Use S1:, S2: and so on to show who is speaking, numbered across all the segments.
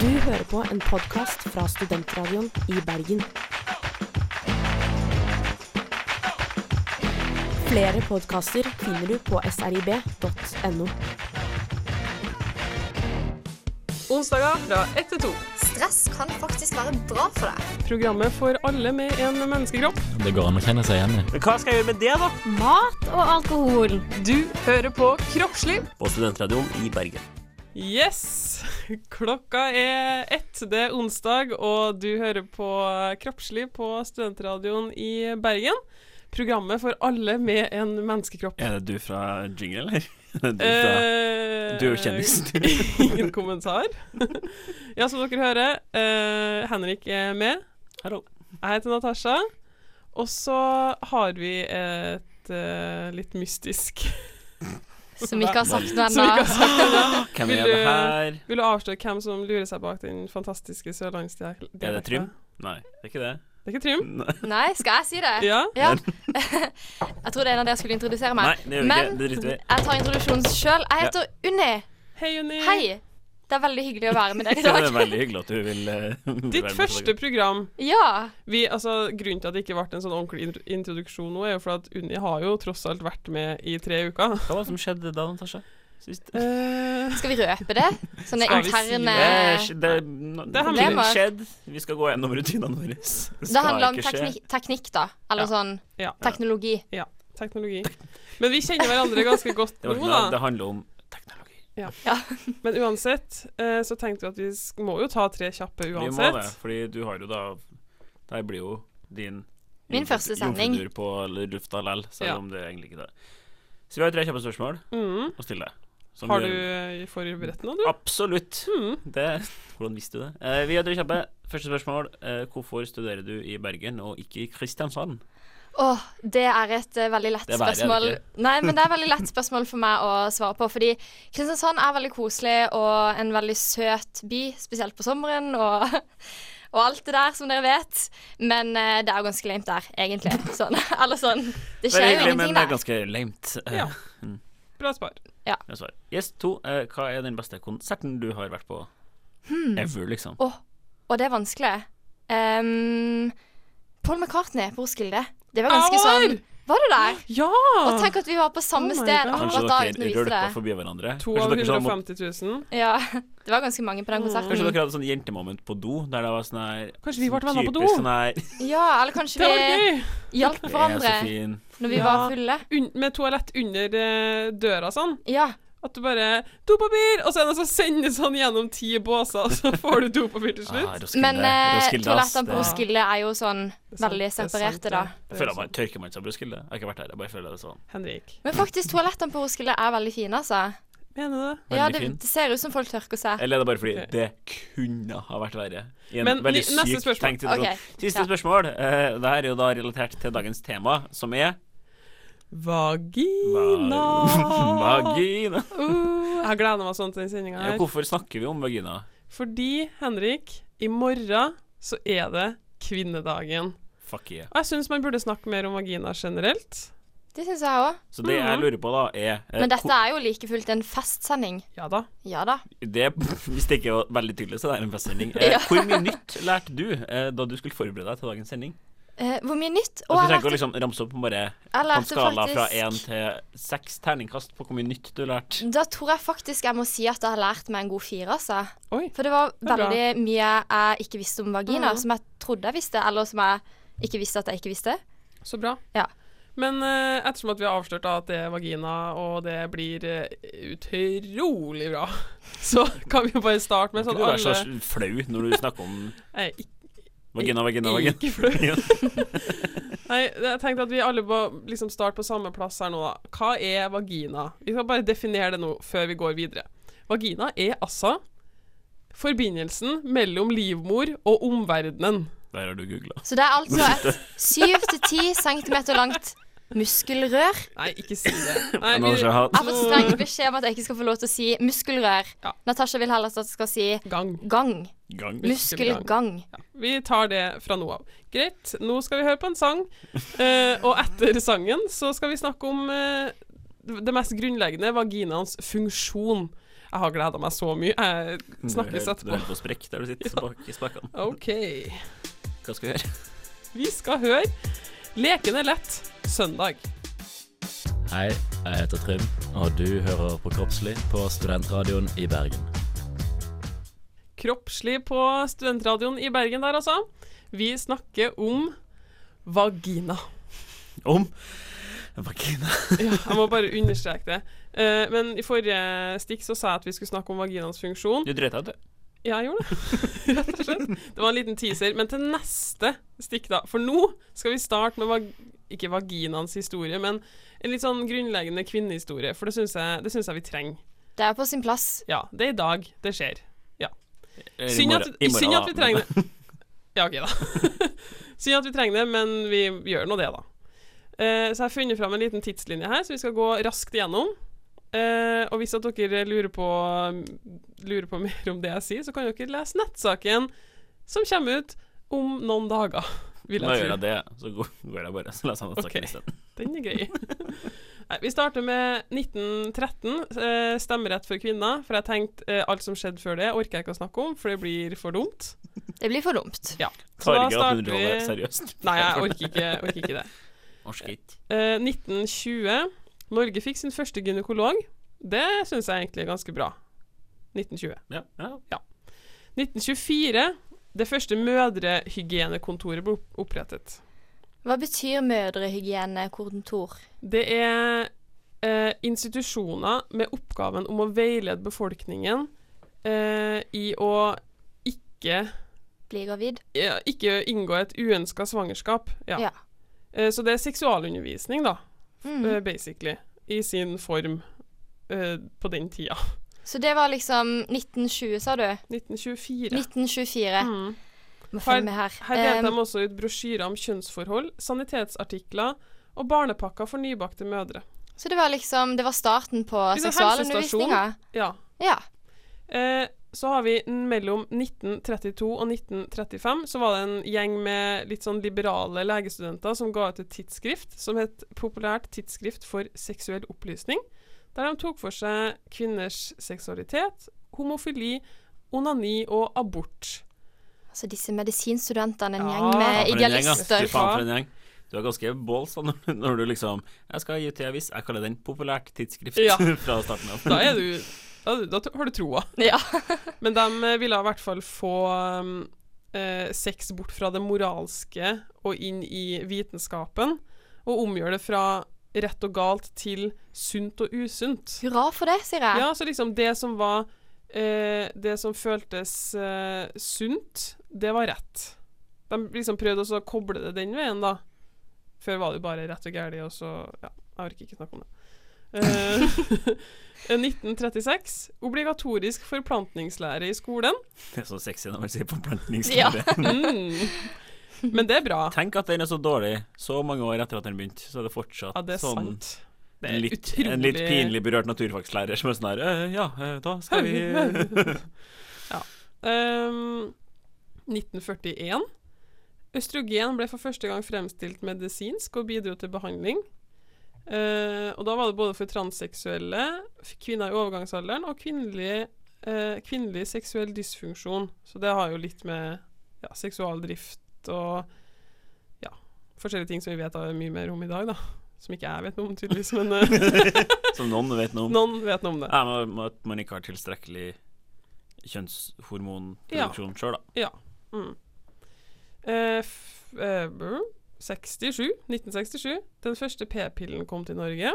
S1: Du hører på en podkast fra Studentradioen i Bergen. Flere podkaster finner du på srib.no.
S2: Onsdager fra 1 til 2.
S3: Stress kan faktisk være bra for deg.
S2: Programmet for alle med en menneskekropp.
S4: Det går an å kjenne seg igjen i.
S5: Men hva skal jeg gjøre med det, da?
S6: Mat og alkohol.
S2: Du hører på Kroppsliv.
S5: På Studentradioen i Bergen.
S2: Yes! Klokka er ett, det er onsdag, og du hører på Kroppsliv på Studentradioen i Bergen. Programmet for alle med en menneskekropp.
S5: Er det du fra Jingle, eller? Er det du fra
S2: Eh,
S5: Du er jo kjendis.
S2: Ingen kommentar. ja, som dere hører, eh, Henrik er med.
S5: Hallo.
S2: Jeg heter Natasha. Og så har vi et eh, litt mystisk
S6: Som ikke har sagt noe
S2: Som vi ikke
S6: ennå.
S2: har sagt ennå.
S5: Hvem
S2: Vil
S5: er
S2: du-
S5: det her?
S2: Vil du avsløre hvem som lurer seg bak den fantastiske sørlandsdialekten?
S5: Er det Trym? Nei, det er ikke det.
S2: Det er ikke Trym.
S6: Nei, skal jeg si det?
S2: Ja.
S6: Ja. jeg trodde en av dere skulle introdusere
S5: Nei,
S6: meg.
S5: det gjør vi ikke.
S6: Men
S5: Det driter vi i.
S6: jeg tar introduksjonen sjøl. Jeg heter Unni.
S2: Hei, Unni.
S6: Hei. Det er veldig hyggelig å være med dere i
S5: Det er
S6: dag.
S5: veldig hyggelig at du vil eh, være
S2: Ditt
S5: med på
S2: første
S5: dagen.
S2: program.
S6: Ja.
S2: Vi, altså, grunnen til at det ikke ble en sånn ordentlig intro- introduksjon nå, er jo for at Unni har jo tross alt vært med i tre uker.
S5: Hva var det som skjedde da, Natasha? Sist?
S2: Eh,
S6: Skal vi røpe det? Sånne
S2: Skal vi si
S6: interne
S5: Det, det, det har
S6: hemmelig.
S5: mye skjedd. Vi skal gå gjennom rutinene våre. Det
S6: Det
S5: skal
S6: handler om
S5: ikke skje.
S6: teknikk, teknikk da. Eller sånn
S2: Ja.
S6: teknologi.
S2: teknologi. Men vi kjenner hverandre ganske godt
S5: Det, var
S2: nå,
S5: ikke noe-
S2: da.
S5: det handler om teknologi.
S2: Men uansett eh, så tenkte vi at vi sk- må jo ta tre kjappe
S5: Vi må det,
S2: uansett.
S5: fordi du har jo da Det blir jo din
S6: Min første sending.
S5: jomfrutur på lufta lell, selv
S2: Ja.
S5: om det egentlig ikke er det. Så vi har tre kjappe spørsmål
S2: Mm.
S5: å stille. Som
S2: Har
S5: vi-
S2: du Mm. eh, forberedt noe, du?
S5: Absolutt. Det, hvordan visste du det? Eh, vi er tre kjappe. Første spørsmål. Eh, hvorfor studerer du i Bergen og ikke i Kristiansand?
S6: Åh, det er et eh, veldig lett
S5: Det er verre, er det
S6: spørsmål.
S5: ikke?
S6: Nei, men det er et veldig lett spørsmål for meg å svare på. Fordi Kristiansand er veldig koselig og en veldig søt by, spesielt på sommeren og, og alt det der, som dere vet. Men eh, det er jo ganske lame der, egentlig. Sånn. Eller sånn.
S5: Det er
S6: Det skjer jo
S5: hyggelig, men
S6: ingenting
S5: det er
S6: der.
S5: ganske lamet. Eh,
S2: Ja. Bra svar.
S5: det er svar. Yes, to. Eh, hva er den beste konserten du har vært på?
S2: Hmm.
S5: Ever, liksom.
S6: Åh, og det er vanskelig. Ehm, Paul McCartney på Roskilde. Det var ganske
S2: Jeg var!
S6: sånn Var du der?
S2: Ja!
S6: Og tenk at vi var på
S2: Oh
S6: samme
S2: my
S6: sted
S2: God.
S6: akkurat
S5: Kanskje
S6: da uten å
S5: dere
S6: vite
S5: rølpa
S6: det.
S5: forbi hverandre?
S2: To
S5: Kanskje
S2: av
S5: dere sånn mot-
S2: 150 000.
S6: Ja, det var ganske mange på den konserten.
S5: Kanskje dere hadde sånn jentemoment på do, der det var sånn her
S2: Kanskje vi
S5: sånn
S2: ble venner på do?
S5: typisk Sånn her
S6: Ja, eller kanskje
S2: Det var
S6: vi
S2: gøy!
S6: hjalp
S5: Jeg er så
S6: hverandre
S5: fin.
S6: når vi
S2: Ja.
S6: var fulle.
S2: Un med toalett under eh, døra sånn.
S6: Ja.
S2: At du bare 'Dopapir!' Og så er det så sendes sånn gjennom ti båser, og så får du dopapir til
S5: Ah,
S2: slutt.
S5: Roskilde.
S6: Men eh,
S5: Roskilde, ass.
S6: toalettene på
S5: Det-
S6: Roskilde er jo sånn
S2: Det er sant, det
S6: veldig
S2: er sant,
S6: separerte,
S2: det.
S6: da.
S2: Det er
S5: Føler man,
S2: sant.
S5: tørker man seg på Roskilde? Jeg har ikke vært der, jeg bare føler det sånn.
S2: Henrik.
S6: Men faktisk, toalettene på Roskilde er veldig fine, altså.
S2: Mener du det?
S5: Veldig
S6: Ja, det,
S5: fin. Eh,
S6: det ser ut som folk tørker seg.
S5: Eller er det bare fordi
S2: Ok.
S5: det kunne ha vært verre? I en
S2: Men
S5: veldig
S2: ni- neste
S5: sykt
S2: spørsmål.
S5: tenkt situasjon.
S6: Ok,
S5: Siste
S6: ja.
S5: spørsmål. Eh, det her er jo da relatert til dagens tema, som er
S2: Vagina.
S5: vagina.
S2: Uh, jeg gleder meg sånn til den sendinga
S5: Ja,
S2: her.
S5: hvorfor snakker vi om vagina?
S2: Fordi, Henrik, i morgen så er det kvinnedagen.
S5: Fuck yeah.
S2: Og jeg syns man burde snakke mer om vagina generelt.
S6: Det syns jeg òg.
S5: Så det jeg lurer på, da, er eh,
S6: Mm. Men dette er jo like fullt en festsending.
S2: Ja da.
S6: Ja da.
S5: hvor- det, Hvis det ikke var veldig tydelig, så det er en festsending. Eh,
S6: Ja.
S5: Hvor mye nytt lærte du eh, da du skulle forberede deg til dagens sending?
S6: Eh, hvor mye nytt?
S5: Og
S6: Og
S5: så
S6: jeg
S5: trenger å
S6: lærte,
S5: liksom ramse opp bare
S6: jeg
S5: på en
S6: lærte
S5: skala fra
S6: faktisk
S5: én til seks terningkast på hvor mye nytt du lærte.
S6: Da tror jeg faktisk jeg må si at jeg har lært meg en god fire, altså.
S2: Oi.
S6: For det var
S2: er bra.
S6: veldig mye jeg ikke visste om vagina,
S2: Mhm.
S6: som jeg trodde jeg visste, eller som jeg ikke visste at jeg ikke visste.
S2: Så bra.
S6: Ja.
S2: Men eh, ettersom at vi har avslørt at det er vagina, og det blir eh, utrolig bra, så kan vi jo bare starte med
S5: Kan
S2: sånn
S5: ikke du være
S2: alle
S5: så flau når du snakker om
S2: Nei, ikke-
S5: vagina, vagina, vagina?
S2: ikke flau.
S5: Ja.
S2: Nei, jeg tenkte at vi alle må liksom starte på samme plass her nå, da. Hva er vagina? Vi skal bare definere det nå, før vi går videre. Vagina er altså forbindelsen mellom livmor og omverdenen.
S5: Der har du googla.
S6: Så det er altså et 7-10 cm langt muskelrør.
S2: Nei, ikke si det. Nei,
S5: Nå skal jeg ha-
S6: Jeg har fått streng beskjed om at jeg ikke skal få lov til å si muskelrør.
S2: Ja.
S6: Natasha vil heller at jeg skal si
S2: gang.
S6: gang.
S5: Gang.
S6: Muskelgang.
S2: Vi tar det fra nå av. Greit, nå skal vi høre på en sang, eh, og etter sangen så skal vi snakke om eh, det mest grunnleggende, vaginaens funksjon. Jeg har gleda meg så mye. Jeg snakkes
S5: Du er
S2: etterpå.
S5: helt på sprekk der du sitter bak i spakene.
S2: OK.
S5: Hva skal vi gjøre?
S2: Vi skal høre 'Leken er lett' søndag.
S4: Hei, jeg heter Trym, og du hører på Kroppslig på Studentradioen i Bergen.
S2: Kroppslig på studentradioen i Bergen der, altså. Vi snakker om vagina.
S5: Om vagina.
S2: Ja, jeg må bare understreke det. Eh, men i forrige stikk så sa jeg at vi skulle snakke om vaginaens funksjon.
S5: Du drøyta ut, du.
S2: Ja, jeg gjorde det. Rett og slett. Det var en liten teaser. Men til neste stikk, da. For nå skal vi starte med vag ikke vaginaens historie, men en litt sånn grunnleggende kvinnehistorie. For det syns jeg, det syns jeg vi trenger.
S6: Det er på sin plass.
S2: Ja, det er i dag det skjer.
S5: Eller Eh, i
S2: Synd at,
S5: morgen- i morgen,
S2: synd
S5: da,
S2: at vi
S5: men-
S2: trenger det. Ja, OK, da. synd at vi trenger det, men vi gjør nå det, da. Eh, så jeg har funnet fram en liten tidslinje her, så vi skal gå raskt igjennom. Eh, og hvis at dere lurer på, lurer på mer om det jeg sier, så kan dere lese nettsaken som kommer ut om noen dager. Vil
S5: Nå
S2: jeg
S5: gjør
S2: tro.
S5: jeg det, så går går jeg bare. Så leser jeg
S2: Ok.
S5: den saken i stedet.
S2: Den er grei. Nei, vi starter med 1913, eh, stemmerett for kvinner. For jeg tenkte eh, alt som skjedde før det, orker jeg ikke å snakke om, for det blir for dumt.
S6: Det blir for dumt.
S2: Ja. Så da
S5: Farge
S2: starter
S5: 1800-tallet,
S2: vi
S5: seriøst.
S2: Nei, jeg orker ikke, orker ikke det.
S5: Orsker ikke.
S2: Eh, 1920. Norge fikk sin første gynekolog. Det syns jeg egentlig er ganske bra. 1920.
S5: Ja, ja.
S2: 1924. Det første mødrehygienekontoret ble opp- opprettet.
S6: Hva betyr mødrehygienekontor?
S2: Det er eh, institusjoner med oppgaven om å veilede befolkningen eh, i å ikke
S6: Bli gravid?
S2: ja, ikke inngå et uønska svangerskap. Ja.
S6: Ja.
S2: Eh, Så det er seksualundervisning, da, f-
S6: Mm.
S2: eh, basically, i sin form eh, på den tida.
S6: Så det var liksom 1920, sa du?
S2: 1924.
S6: 1924.
S2: Mm.
S6: Må følge med her.
S2: Her delte
S6: Um,
S2: de også ut brosjyrer om kjønnsforhold, sanitetsartikler og barnepakker for nybakte mødre.
S6: så det var liksom Det var starten på
S2: Liksom
S6: seksualundervisninga?
S2: Ja.
S6: Ja.
S2: Eh, Så har vi n- mellom 1932 og 1935 så var det en gjeng med litt sånn liberale legestudenter som ga ut et tidsskrift som het Populært tidsskrift for seksuell opplysning, der de tok for seg kvinners seksualitet, homofili, onani og abort.
S6: Altså disse medisinstudentene, en
S2: Ja.
S6: gjeng
S2: Ja,
S6: med
S5: for en gjeng, ass. Fy
S6: idealister.
S5: faen, for en gjeng. Du er ganske balls da, når, når du liksom Jeg skal gi ut en avis. Jeg kaller den populært tidsskrift
S2: Ja.
S5: fra starten av.
S2: Da er du Da, da har du troa.
S6: Ja.
S2: Men de eh, ville i hvert fall få um, eh, sex bort fra det moralske og inn i vitenskapen, og omgjøre det fra rett og galt til sunt og usunt.
S6: Hurra for det, sier jeg.
S2: Ja, så liksom det som var eh, Det som føltes eh, sunt, det var rett. De liksom prøvde også å koble det den veien, da. Før var det jo bare rett og gærlig, og så Ja, jeg orker ikke snakke om det. Eh, 1936. Obligatorisk forplantningslære i skolen.
S5: Det er så sexy når man sier forplantningslære.
S6: Ja.
S2: Mm. Men det er bra.
S5: Tenk at den er så dårlig så mange år etter at den begynte, så er det fortsatt
S2: Ja, det er
S5: sånn
S2: sant. Det er
S5: en litt,
S2: utrolig
S5: en litt pinlig berørt naturfagslærer som er sånn her «Eh, Ja, eh, da skal vi
S2: Ehm, 1941. Østrogen ble for første gang fremstilt medisinsk og bidro til behandling. Eh, og da var det både for transseksuelle, f- kvinner i overgangsalderen og kvinnelig, eh, kvinnelig seksuell dysfunksjon. Så det har jo litt med ja, seksualdrift og ja, forskjellige ting som vi vet er mye mer om i dag, da. Som ikke jeg vet noe om, tydeligvis, men eh,
S5: Som noen vet noe om.
S2: noen vet noe om det.
S5: Ja, men om At man ikke har tilstrekkelig kjønnshormonproduksjon sjøl, da.
S2: Mm. Eh, f, eh, brr, 67, 1967. Den første p-pillen kom til Norge.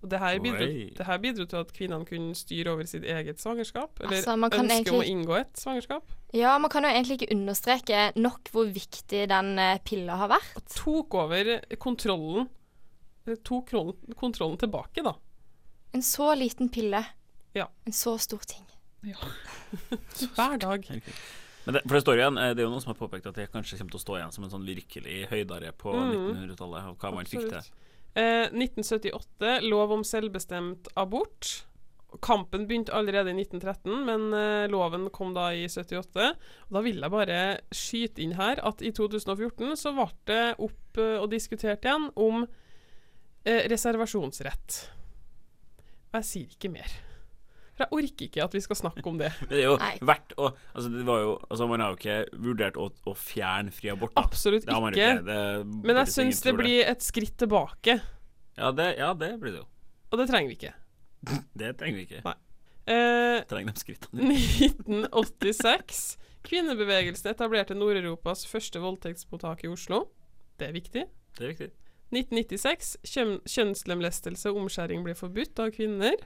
S2: Og det her, bidro,
S5: Oi.
S2: det her bidro til at kvinnene kunne styre over sitt eget svangerskap. Eller
S6: Altså, man
S2: ønske
S6: kan
S2: om å
S6: egentlig-
S2: inngå et svangerskap.
S6: Ja, man kan jo egentlig ikke understreke nok hvor viktig den eh, pilla har vært.
S2: Tok over kontrollen eller Tok kron- kontrollen tilbake, da.
S6: En så liten pille.
S2: Ja.
S6: En så stor ting.
S2: Hver dag.
S5: Men det, for det står igjen, eh, det er jo noen som har påpekt at det kanskje kommer til å stå igjen som en sånn virkelig høydare på
S2: Mm.
S5: 1900-tallet, og hva man fikk til.
S2: Absolutt. Eh, 1978, lov om selvbestemt abort. Kampen begynte allerede i 1913, men eh, loven kom da i 78. Og da vil jeg bare skyte inn her at i 2014 så ble det opp eh, og diskutert igjen om eh, reservasjonsrett. Og jeg sier ikke mer. For jeg orker ikke at vi skal snakke om det.
S5: Det er jo
S6: Nei.
S5: verdt å altså, det var jo, altså, Man har jo ikke vurdert å, å fjerne fri abort. da.
S2: Absolutt
S5: Det har man jo
S2: ikke.
S5: ikke. Det
S2: Men jeg
S5: burde ingen
S2: syns det
S5: tror
S2: blir et skritt tilbake,
S5: ja det, ja, det blir det jo.
S2: og det trenger vi ikke.
S5: Det trenger vi ikke.
S2: Eh,
S5: Trenger de skrittene.
S2: 1986. Kvinnebevegelsen etablerte Nord-Europas første voldtektsmottak i Oslo. Det er viktig.
S5: Det er viktig.
S2: 1996. Kjøm- Kjønnslemlestelse og omskjæring ble forbudt av kvinner.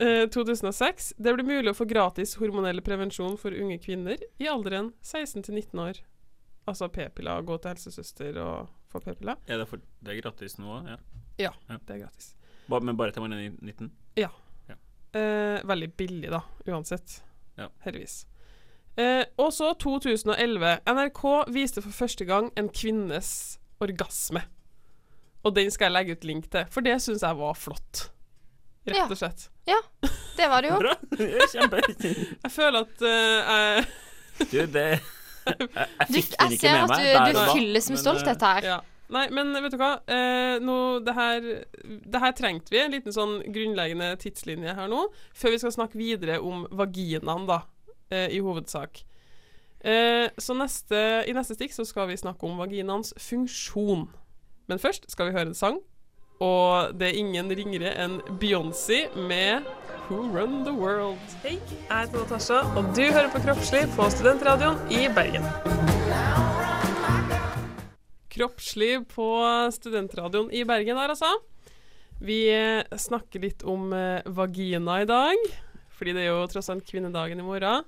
S2: Eh, 2006. Det ble mulig å få gratis hormonell prevensjon for unge kvinner i alderen 16 til 19 år. Altså p-piller, gå til helsesøster og få p-piller.
S5: Er det, for, det er gratis nå òg? Ja.
S2: Ja,
S5: Ja.
S2: det er gratis.
S5: Ba- Men bare til man er 19?
S2: Eh, veldig billig, da, uansett.
S5: Ja.
S2: Heldigvis. Eh, og så 2011. NRK viste for første gang en kvinnes orgasme. Og den skal jeg legge ut link til, for det syns jeg var flott.
S6: Ja.
S2: Rett og slett.
S6: Det var det jo.
S5: Bra! Kjempe!
S2: Jeg føler at eh, jeg
S5: Du, det Jeg
S6: Du,
S5: fikk den
S6: jeg
S5: ikke
S6: ser
S5: med
S6: at
S5: meg.
S6: du,
S5: der
S6: du
S5: og da,
S6: fylles
S5: men,
S6: med
S5: eh,
S6: stolthet her.
S2: Ja. Nei, men vet du hva? Eh, nå, det, her, det her trengte vi. En liten sånn grunnleggende tidslinje her nå, før vi skal snakke videre om vaginaen, da, eh, i hovedsak. Eh, så neste, i neste stikk så skal vi snakke om vaginaens funksjon. Men først skal vi høre en sang, og det er ingen ringere enn Beyoncé med Who Run The World. Hei, jeg heter Natasha, og du hører på Kroppslig på Studentradioen i Bergen. Kroppsliv på studentradioen i Bergen der, altså. Vi eh, snakker litt om eh, vagina i dag, fordi det er jo tross alt kvinnedagen i morgen.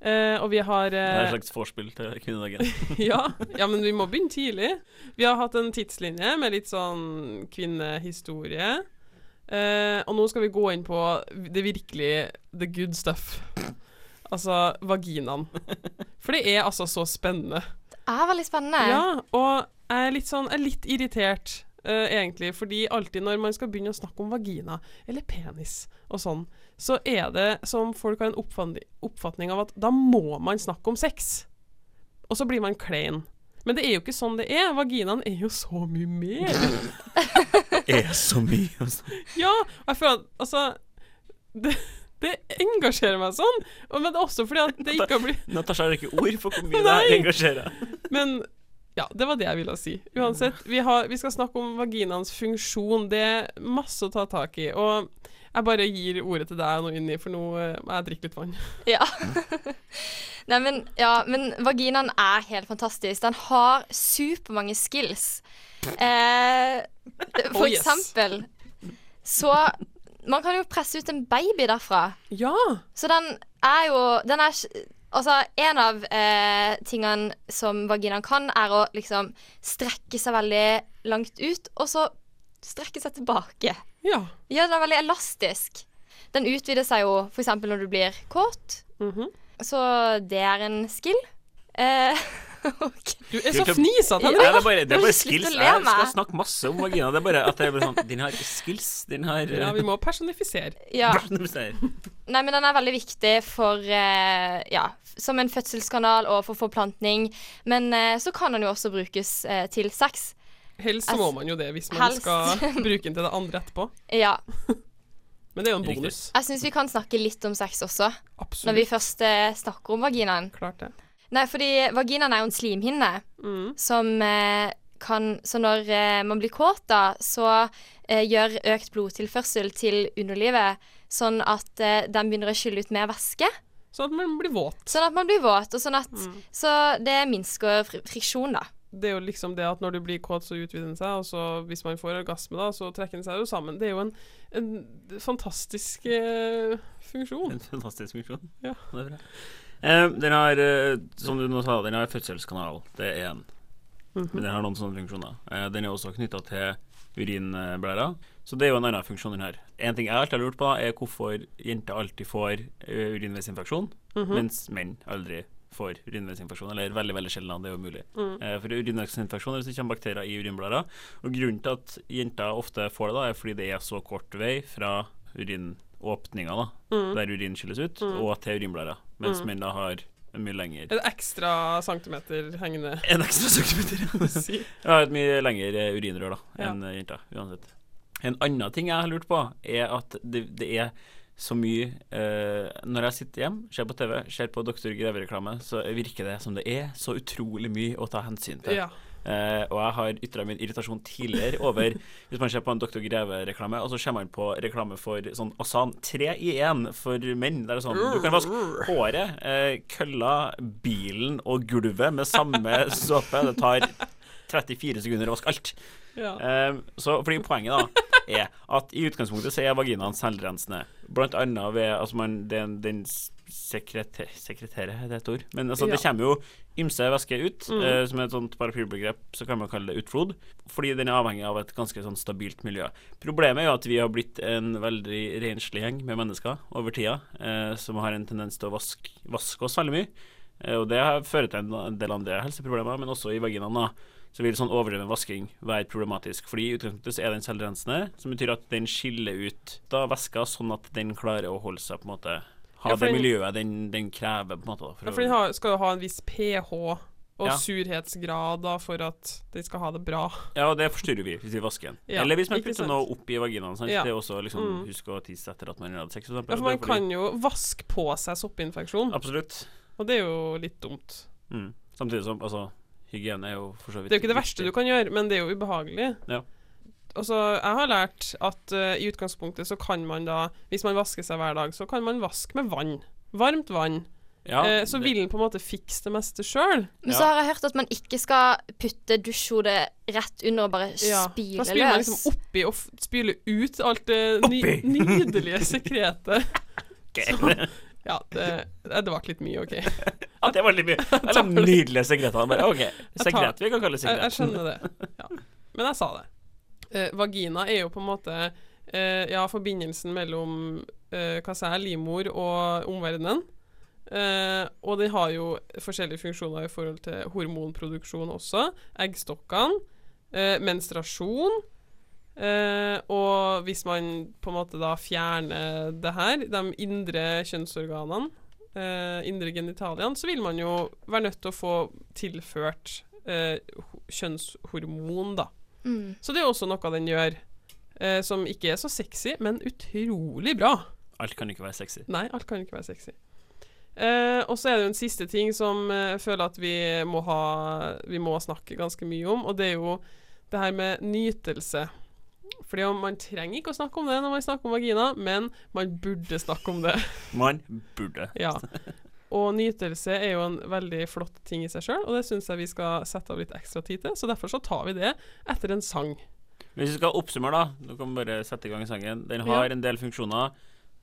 S2: Eh, og vi har
S5: Det er
S2: eh,
S5: et slags vorspiel til kvinnedagen.
S2: ja, ja, men vi må begynne tidlig. Vi har hatt en tidslinje med litt sånn kvinnehistorie. Eh, og nå skal vi gå inn på det virkelig the good stuff. Altså vaginaen. For det er altså så spennende.
S6: Det er veldig spennende.
S2: Ja, og jeg er litt sånn, jeg er litt irritert, eh, egentlig, fordi alltid når man skal begynne å snakke om vagina, eller penis og sånn, så er det som folk har en oppfatning, oppfatning av at da må man snakke om sex. Og så blir man klein. Men det er jo ikke sånn det er. Vaginaen er jo så mye mer.
S5: er så mye å snakke
S2: Ja, og jeg føler at altså det, det engasjerer meg sånn. Og- Men det er også fordi at det ikke har blitt
S5: Natasha har ikke ord for hvor mye det her
S2: Nei.
S5: engasjerer.
S2: Men ja, det var det jeg ville si. Uansett, vi, har, vi skal snakke om vaginaens funksjon. Det er masse å ta tak i. Og jeg bare gir ordet til deg nå, Unni, for nå eh, må jeg drikke litt vann.
S6: Ja. Nei, men, ja, men vaginaen er helt fantastisk. Den har supermange skills. Eh, for
S2: Oh, yes.
S6: eksempel så Man kan jo presse ut en baby derfra.
S2: Ja!
S6: Så den er jo Den er ikke Altså, en av eh, tingene som vaginaen kan, er å liksom strekke seg veldig langt ut, og så strekke seg tilbake.
S2: Ja.
S6: Ja, den er veldig elastisk. Den utvider seg jo f.eks. når du blir kåt.
S2: Mhm.
S6: Så det er en skill. Eh, ok.
S2: Du er
S5: Kult
S2: så
S5: å-
S2: fnisete,
S5: Nei,
S6: Ja.
S2: Henrik!
S5: det er bare, det
S6: Men
S5: er bare
S6: slutt å
S5: skills.
S6: le
S5: Jeg
S6: meg.
S5: skal snakke masse om vagina. Det er bare at jeg blir sånn Den har skills. Den har eh,
S2: Ja, vi må personifisere.
S6: Ja.
S5: Nei,
S6: Nei, men den er veldig viktig for eh, Ja, f- som en fødselskanal og for forplantning. Men eh, så kan den jo også brukes eh, til sex.
S2: Helst så må man jo det hvis man
S6: Helst.
S2: skal bruke den til det andre etterpå.
S6: Ja.
S2: Men det er jo en
S5: Riktig.
S2: bonus.
S6: Jeg syns vi kan snakke litt om sex også, når vi
S2: Absolutt.
S6: først eh, snakker om vaginaen.
S2: Klart det.
S6: Nei, fordi vaginaen er jo en slimhinne
S2: Mm.
S6: som eh, kan Så når eh, man blir kåt, da, så eh, gjør økt blodtilførsel til underlivet sånn at eh, den begynner å skylle ut mer væske.
S2: Sånn at man blir våt.
S6: Sånn at man blir våt, og sånn at
S2: Mm.
S6: Så det minsker fri friksjon, da.
S2: Det er jo liksom det at når du blir kåt, så utvider den seg, og så hvis man får orgasme, da, så trekker den seg jo sammen. Det er jo en, en fantastisk eh, funksjon.
S5: En fantastisk funksjon.
S2: Ja.
S5: Det er bra. Eh, den har, eh, som du nå sa, den har fødselskanal. Det er én. Men den har noen sånne funksjoner. Eh, den er også knytta til urinblæra. Så det er jo en annen funksjon den her. En ting jeg alltid har lurt på, da, er hvorfor jenter alltid får eh, urinveisinfeksjon, mens menn aldri får urinveisinfeksjon. Eller veldig veldig sjelden, det er jo mulig. Eh, for urinveisinfeksjon er hvis det kommer bakterier i urinblæra. Og grunnen til at jenter ofte får det, da, er fordi det er så kort vei fra urinåpninga, da, der urin skilles ut, og til urinblæra. Mens menn da har en mye lenger
S2: En ekstra centimeter hengende
S5: En ekstra centimeter.
S2: si.
S5: Jeg har et mye lengre eh, urinrør da
S2: Ja.
S5: enn eh, jenta, uansett. En annen ting jeg har lurt på, er at det, det er så mye eh, Når jeg sitter hjemme, ser på TV, ser på Dr. Greve-reklame, så virker det som det er så utrolig mye å ta hensyn til.
S2: Ja.
S5: Eh, og jeg har ytra min irritasjon tidligere over Hvis man ser på en Dr. Greve-reklame, og så kommer man på reklame for sånn Asan 3 i 1 for menn. Der det er sånn Du kan vaske håret, eh, kølla, bilen og gulvet med samme såpe. Det tar 34 sekunder å vaske alt.
S2: ja.
S5: Eh, så fordi poenget da er at i utgangspunktet så er vaginaen selvrensende. Blant annet ved altså man, den, den sekreter, sekretære, er det et ord? Men altså,
S2: Ja.
S5: det kommer jo ymse væske ut,
S2: Mm.
S5: eh, som er et sånt paraplybegrep, så kan man kalle det utflod. Fordi den er avhengig av et ganske sånn stabilt miljø. Problemet er jo at vi har blitt en veldig renslig gjeng med mennesker over tida, eh, som har en tendens til å vaske, vaske oss veldig mye. Eh, og det fører til en del andre helseproblemer, men også i vaginaen. da så vil sånn overdreven vasking være problematisk. Fordi i utgangspunktet så er den selvrensende, som betyr at den skiller ut da væska, sånn at den klarer å holde seg på en måte Ha
S2: Ja, for
S5: det
S2: den-
S5: miljøet den, den krever, på en måte. Da, for
S2: Ja, for den har, skal jo ha en viss pH og
S5: Ja.
S2: surhetsgrad da, for at de skal ha det bra.
S5: å, ja, og det forstyrrer vi hvis vi vasker den.
S2: Ja,
S5: Eller hvis man
S2: ikke
S5: putter
S2: sant.
S5: noe opp i vaginaen. Sant?
S2: Ja.
S5: Det er også liksom
S2: Mm.
S5: Husk å tisse etter at man har hatt sex. for eksempel.
S2: Ja, for
S5: Det
S2: man
S5: er fordi-
S2: kan jo vaske på seg soppinfeksjon,
S5: Absolutt.
S2: og det er jo litt dumt.
S5: Mm. Samtidig som altså Hygiene er jo for så vidt
S2: Det er jo ikke det verste du kan gjøre, men det er jo ubehagelig.
S5: Ja.
S2: Altså, jeg har lært at eh, i utgangspunktet så kan man da, hvis man vasker seg hver dag, så kan man vaske med vann. Varmt vann.
S5: ja,
S2: eh, så
S5: det-
S2: vil den på en måte fikse det meste sjøl.
S5: Ja.
S6: Men så har jeg hørt at man ikke skal putte dusjhodet rett under og bare spyle
S2: Da spyler man
S6: løs.
S2: liksom oppi og f- spyler ut alt det ny
S5: Oppi.
S2: nydelige sekretet.
S5: Ok.
S2: Ja, det, det var litt mye, OK. Jeg,
S5: Ja, det var litt mye. Eller nydelige sekretene. Bare OK.
S2: tar-
S5: Sekret. Vi kan kalle det sekret.
S2: jeg skjønner det. Ja. Men jeg sa det. Eh, vagina er jo på en måte eh, ja, forbindelsen mellom eh, hva sier jeg, livmor og omverdenen. Eh, og den har jo forskjellige funksjoner i forhold til hormonproduksjon også. Eggstokkene, eh, menstruasjon. Eh, og hvis man på en måte da fjerner det her, de indre kjønnsorganene, eh, indre genitaliene, så vil man jo være nødt til å få tilført eh, ho- kjønnshormon, da.
S6: Mm.
S2: Så det er også noe den gjør. Eh, som ikke er så sexy, men utrolig bra.
S5: Alt kan ikke være sexy.
S2: Nei, alt kan ikke være sexy. Eh, og så er det jo en siste ting som eh, jeg føler at vi må, ha, vi må snakke ganske mye om, og det er jo det her med nytelse. Fordi om man trenger ikke å snakke om det når man snakker om vagina, men man burde snakke om det.
S5: Man burde.
S2: Ja. Og nytelse er jo en veldig flott ting i seg sjøl, og det syns jeg vi skal sette av litt ekstra tid til, så derfor så tar vi det etter en sang.
S5: Hvis vi skal oppsummere, da Nå kan vi bare sette i gang sangen. Den har
S2: Ja.
S5: en del funksjoner.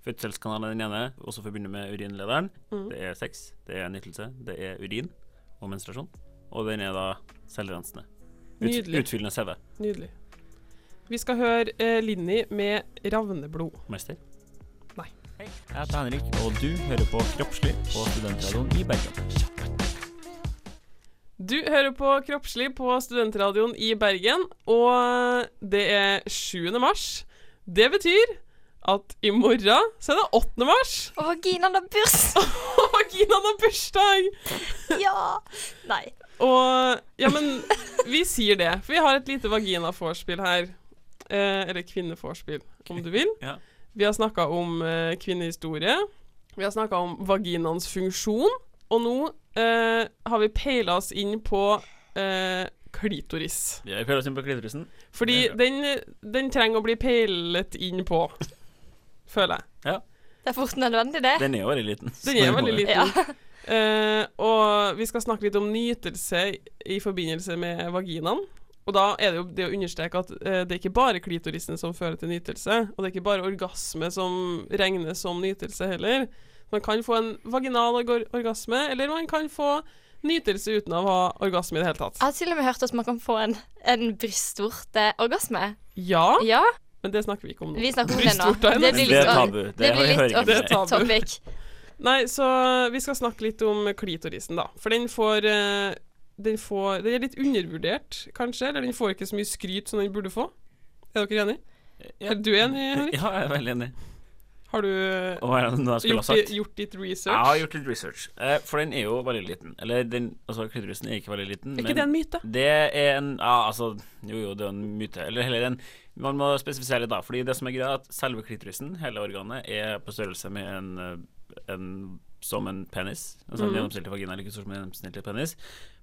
S5: Fødselskanalen er den ene, også forbundet med urinlederen.
S2: Mhm.
S5: Det er sex, det er nytelse, det er urin og menstruasjon. Og den er da selvrensende. Ut,
S2: Nydelig.
S5: utfyllende CV.
S2: Nydelig. Vi skal høre eh, Linni med 'Ravneblod'.
S5: Mester.
S2: Nei.
S5: Hei, jeg heter Henrik, og du hører på Kroppslig på Studentradioen i Bergen.
S2: Du hører på Kroppslig på Studentradioen i Bergen, og det er 7. mars. Det betyr at i morgen så er det 8. mars,
S6: Og vaginaen har bursdag!
S2: og vaginaen har bursdag!
S6: ja! Nei.
S2: Og Ja, men vi sier det, for vi har et lite vaginaforspill her. Eh, eller kvinneforspill, om du vil.
S5: Ja.
S2: Vi har snakka om eh, kvinnehistorie. Vi har snakka om vaginaens funksjon. Og nå eh, har vi peila oss inn på eh, klitoris.
S5: Vi er føler oss inn på klitorisen.
S2: Fordi
S5: Det er
S2: den, den trenger å bli peilet inn på, føler jeg.
S6: Det er fort nødvendig, det.
S5: Den er jo veldig liten. så
S2: Den er
S5: må
S2: veldig
S5: jo-
S2: liten. Eh, og vi skal snakke litt om nytelse i forbindelse med vaginaen. Og da er det jo det å understreke at eh, det er ikke bare klitorisen som fører til nytelse, og det er ikke bare orgasme som regnes som nytelse heller. Man kan få en vaginal org orgasme, eller man kan få nytelse uten å ha orgasme i det hele tatt.
S6: Jeg har til og med hørt at man kan få en, en brystvorteorgasme.
S2: Ja,
S5: Ah.
S6: Ja,
S2: men det snakker vi ikke om nå.
S6: vi snakker om det nå.
S2: Brystvorte er
S6: Det
S5: Men
S6: blir
S5: det
S6: litt,
S5: er
S6: off-
S5: tabu. Det,
S6: det blir
S5: hører
S6: litt
S5: ikke med.
S6: off
S2: Det er tabu.
S6: topic.
S2: Nei, så vi skal snakke litt om klitorisen, da. For den får, eh, den får Den er litt undervurdert, kanskje? Eller den får ikke så mye skryt som den burde få? Er dere enig?
S5: Ja.
S2: Er du enig, Henrik?
S5: Ja, jeg er veldig enig.
S2: Har du eh,
S5: Og hva er det nå jeg skulle
S2: gjort,
S5: ha sagt?
S2: di- gjort ditt research?
S5: Jeg har gjort litt research, eh, for den er jo veldig liten. Eller den, altså klitorisen er ikke veldig liten.
S2: Er ikke det en myte?
S5: Det er en Ja, altså Jo, jo, det er en myte. Eller heller en Man må spesifisere litt, da. Fordi det som er greia, er at selve klitorisen, hele organet, er på størrelse med en, eh, en Som en penis. Altså
S2: Mhm.
S5: en gjennomsnittlig vagina er like stor som en gjennomsnittlig penis.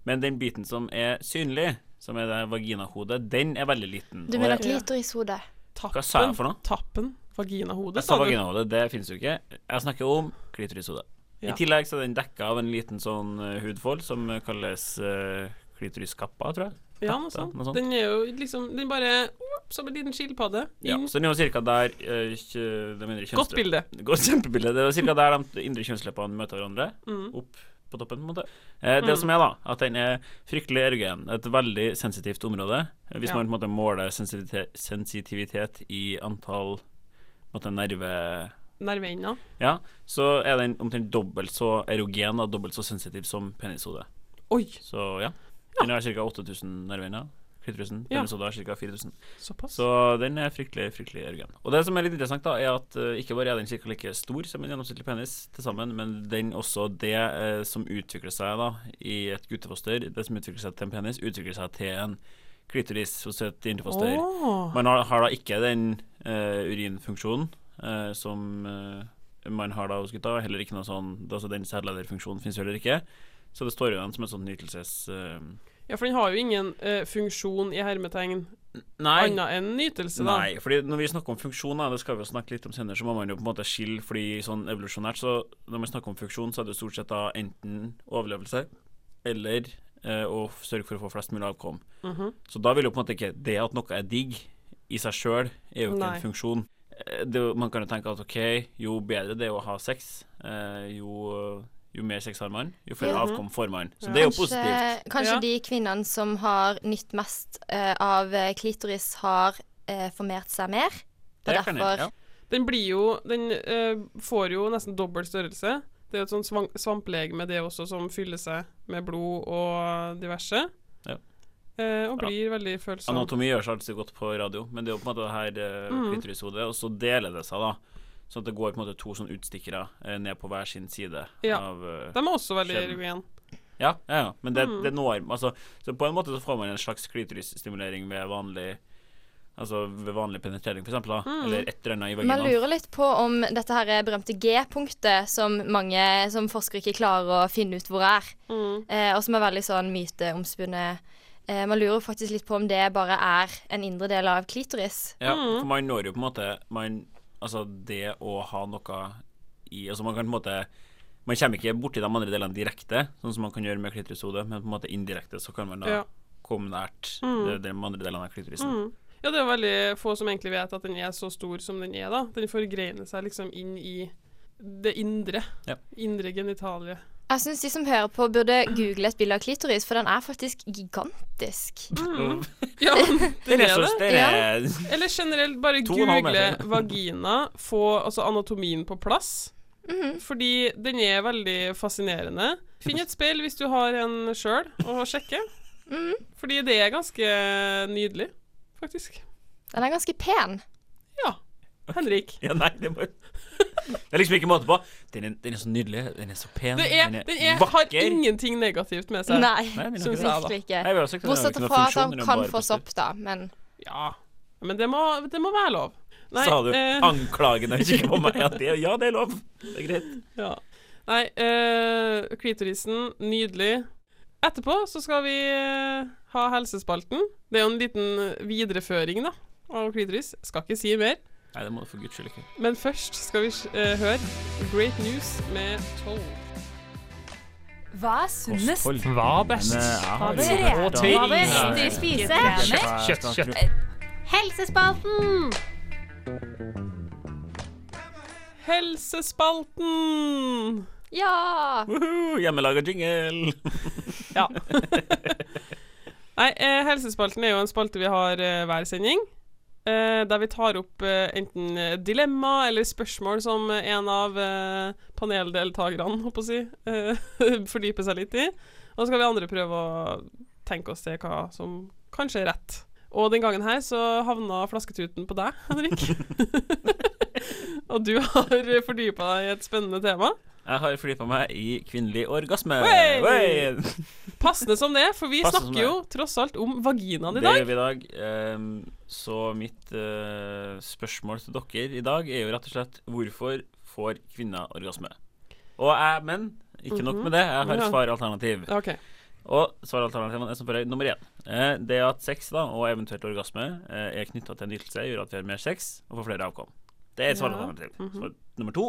S5: Men den biten som er synlig, som er det vaginahodet, den er veldig liten.
S6: Du
S5: Og
S6: mener
S5: jeg-
S6: klitorishodet.
S2: Tappen,
S5: Hva sa jeg for noe?
S2: Tappen. Vaginahode,
S5: Jeg sa vaginahode, det finnes jo ikke. Jeg snakker om klitorishode.
S2: Ja.
S5: I tillegg så er den dekka av en liten sånn eh, hudfold som eh, kalles eh, klitoriskappa, tror jeg.
S2: Ja, noe
S5: Katta,
S2: sånt.
S5: noe sånt.
S2: Den er jo liksom Den bare opp, som en liten skilpadde.
S5: Ja,
S2: Inn.
S5: så den er jo ca. der eh, kjø, de indre kjønnsleppene
S2: Godt bilde.
S5: Godt kjempebilde. Det er ca. der de indre kjønnsleppene møter hverandre.
S2: Mm.
S5: Opp på toppen, på en måte. Eh, det som er, da, at den er fryktelig erogen. Et veldig sensitivt område. Eh, Hvis
S2: Ja.
S5: man på en måte måler sensitivitet, sensitivitet i antall på en måte, nerve...
S2: Nerveenda.
S5: Ja, så er den omtrent dobbelt så erogen og dobbelt så sensitiv som penishodet.
S2: Oi,
S5: Så ja. Den har ca. 8000 nerveender. Klitorisen.
S2: Ja.
S5: Penishodet har ca. 4000.
S2: såpass.
S5: Så den er fryktelig, fryktelig erogen. Og det som er litt interessant, da, er at eh, ikke bare er den ca. like stor som en gjennomsnittlig penis til sammen, men den også det eh, som utvikler seg da i et guttefoster, det som utvikler seg til en penis, utvikler seg til en klitoris hos et jentefoster.
S2: Åh.
S5: Man har, har da ikke den eh, urinfunksjonen eh, som eh, man har da hos gutta. Heller ikke noe sånn det er altså Den sædlederfunksjonen finnes jo heller ikke. Så det står jo igjen som et sånt nytelses... eh,
S2: Ja, for den har jo ingen eh, funksjon i hermetegn
S5: nei,
S2: annet enn nytelse, da.
S5: nei, fordi når vi snakker om funksjoner, det skal vi jo snakke litt om senere, så må man jo på en måte skille, fordi sånn evolusjonært, så når man snakker om funksjon, så er det jo stort sett da enten overlevelse eller eh, å f- sørge for å få flest mulig avkom.
S6: Mhm.
S5: Så da vil jo på en måte ikke det at noe er digg i seg sjøl, er jo ikke
S2: Nei.
S5: en funksjon. Eh, Det, er jo- man kan jo tenke at ok, jo bedre det er å ha sex, eh, jo, jo mer sex har man, jo flere
S6: Ja.
S5: avkom får man. Så det er jo positivt.
S6: kanskje
S2: Ja.
S6: de kvinnene som har nytt mest eh, av klitoris, har eh, formert seg mer. Og
S5: Det kan jeg,
S6: derfor
S5: ja.
S2: Den blir jo Den eh, får jo nesten dobbel størrelse. Det er jo et sånt svamp svamplegeme, det også, som fyller seg med blod og diverse.
S5: Ja.
S2: Eh, og blir veldig følsom.
S5: Anatomi gjør seg alltid godt på radio, men det er jo på en måte det her mm. klitorishodet, og så deler det seg, da. Sånn at det går på en måte to sånne utstikkere eh, ned på hver sin side
S2: Ja.
S5: av eh,
S2: De er også veldig
S5: Skjeden.
S2: erogen.
S5: Ja, ja, ja. Men det, det når altså, Så på en måte så får man en slags klitorisstimulering ved vanlig Altså ved vanlig penetrering, for eksempel, da. Eller et eller annet i
S6: Man
S5: vaginaen.
S6: lurer litt på om dette her er berømte G-punktet som mange som forskere ikke klarer å finne ut hvor er,
S5: Mm.
S6: eh, og som er veldig sånn myteomspunnet. Eh, man lurer faktisk litt på om det bare er en indre del av klitoris.
S5: Ja,
S2: Mm.
S5: for man når jo på en måte man, Altså det å ha noe i Altså man kan på en måte Man kommer ikke borti de andre delene direkte, sånn som man kan gjøre med klitorishode, men på en måte indirekte så kan man da
S2: Ja. Mm.
S5: komme nært de, de andre delene av klitorisen.
S2: Ja, det er veldig få som egentlig vet at den er så stor som den er, da. Den forgreiner seg liksom inn i det indre.
S5: Ja.
S2: Indre genitalie.
S6: Jeg syns de som hører på, burde google et bilde av klitoris, for den er faktisk gigantisk.
S2: Ja,
S5: Det
S2: den
S5: er
S2: Mm. er
S5: så-
S2: det.
S5: det er-
S2: Eller generelt, bare
S5: To og en halv
S2: google
S5: meter.
S2: vagina, få altså anatomien på plass. Fordi den er veldig fascinerende. Finn et speil hvis du har en sjøl, og sjekke. Fordi det er ganske nydelig, faktisk.
S6: Den er ganske pen.
S2: Ja. Henrik.
S5: Ja, nei, det, må, det er liksom ikke måte på. Den er, den er så nydelig, den er så pen,
S2: Det er, den er, har ingenting negativt med seg.
S6: Nei,
S5: Nei, den er
S2: Synes
S5: ikke det.
S2: jeg, da.
S6: virkelig ikke.
S5: Nei, vi har sagt, at den har ikke noe
S6: Bortsett fra at
S5: funksjon,
S6: han
S5: den er
S6: kan
S5: bare
S6: få
S5: positiv.
S6: sopp, da, men
S2: Ja. Men det må, det må være lov. Nei,
S5: Sa du
S2: eh,
S5: anklagende og kikker på meg? Ja det, ja, det er lov. Det er greit.
S2: ja. Nei, eh, klitorisen, nydelig. Etterpå så skal vi eh, ha helsespalten. Det er jo en liten eh, videreføring da, av klitoris. Skal ikke si mer.
S5: Nei, det må du for guds skyld ikke.
S2: Men først skal vi eh, høre Great News med Toll.
S7: Hva er sunnest?
S8: Hva er best?
S7: Hva bør
S8: Og
S7: jeg-
S8: til
S7: hva bør jeg riktig spise?
S8: kjøtt, kjøtt.
S7: Helsespalten!
S2: Helsespalten!
S6: ja.
S5: Woohoo, hjemmelaga jingle.
S2: Ja. Nei, eh, helsespalten er jo en spalte vi har eh, hver sending. Eh, der vi tar opp eh, enten eh, dilemma eller spørsmål som eh, en av eh, paneldeltakerne, håper jeg å si, eh, fordyper seg litt i. Og så skal vi andre prøve å tenke oss til hva som kanskje er rett. Og den gangen her så havna flasketuten på deg, Henrik. Og du har fordypa deg i et spennende tema.
S5: Jeg har fordypa meg i kvinnelig orgasme.
S2: Wey!
S5: Wey!
S2: Passende som det, for vi
S5: Passende som
S2: snakker jo tross alt om vaginaen i
S5: Det
S2: dag.
S5: gjør vi i dag. Ehm, så mitt eh, spørsmål til dere i dag er jo rett og slett hvorfor får kvinner orgasme? Og jeg, men ikke nok med det, jeg har
S2: Mhm. Ja.
S5: et svaralternativ.
S2: Ok.
S5: Og svaralternativene er som følger. Nummer én. Eh, det at sex da, og eventuelt orgasme eh, er knytta til en nytelse, gjør at vi har mer sex og får flere avkom. Det er et
S2: Ja. mhm.
S5: svaralternativ. Svar nummer to.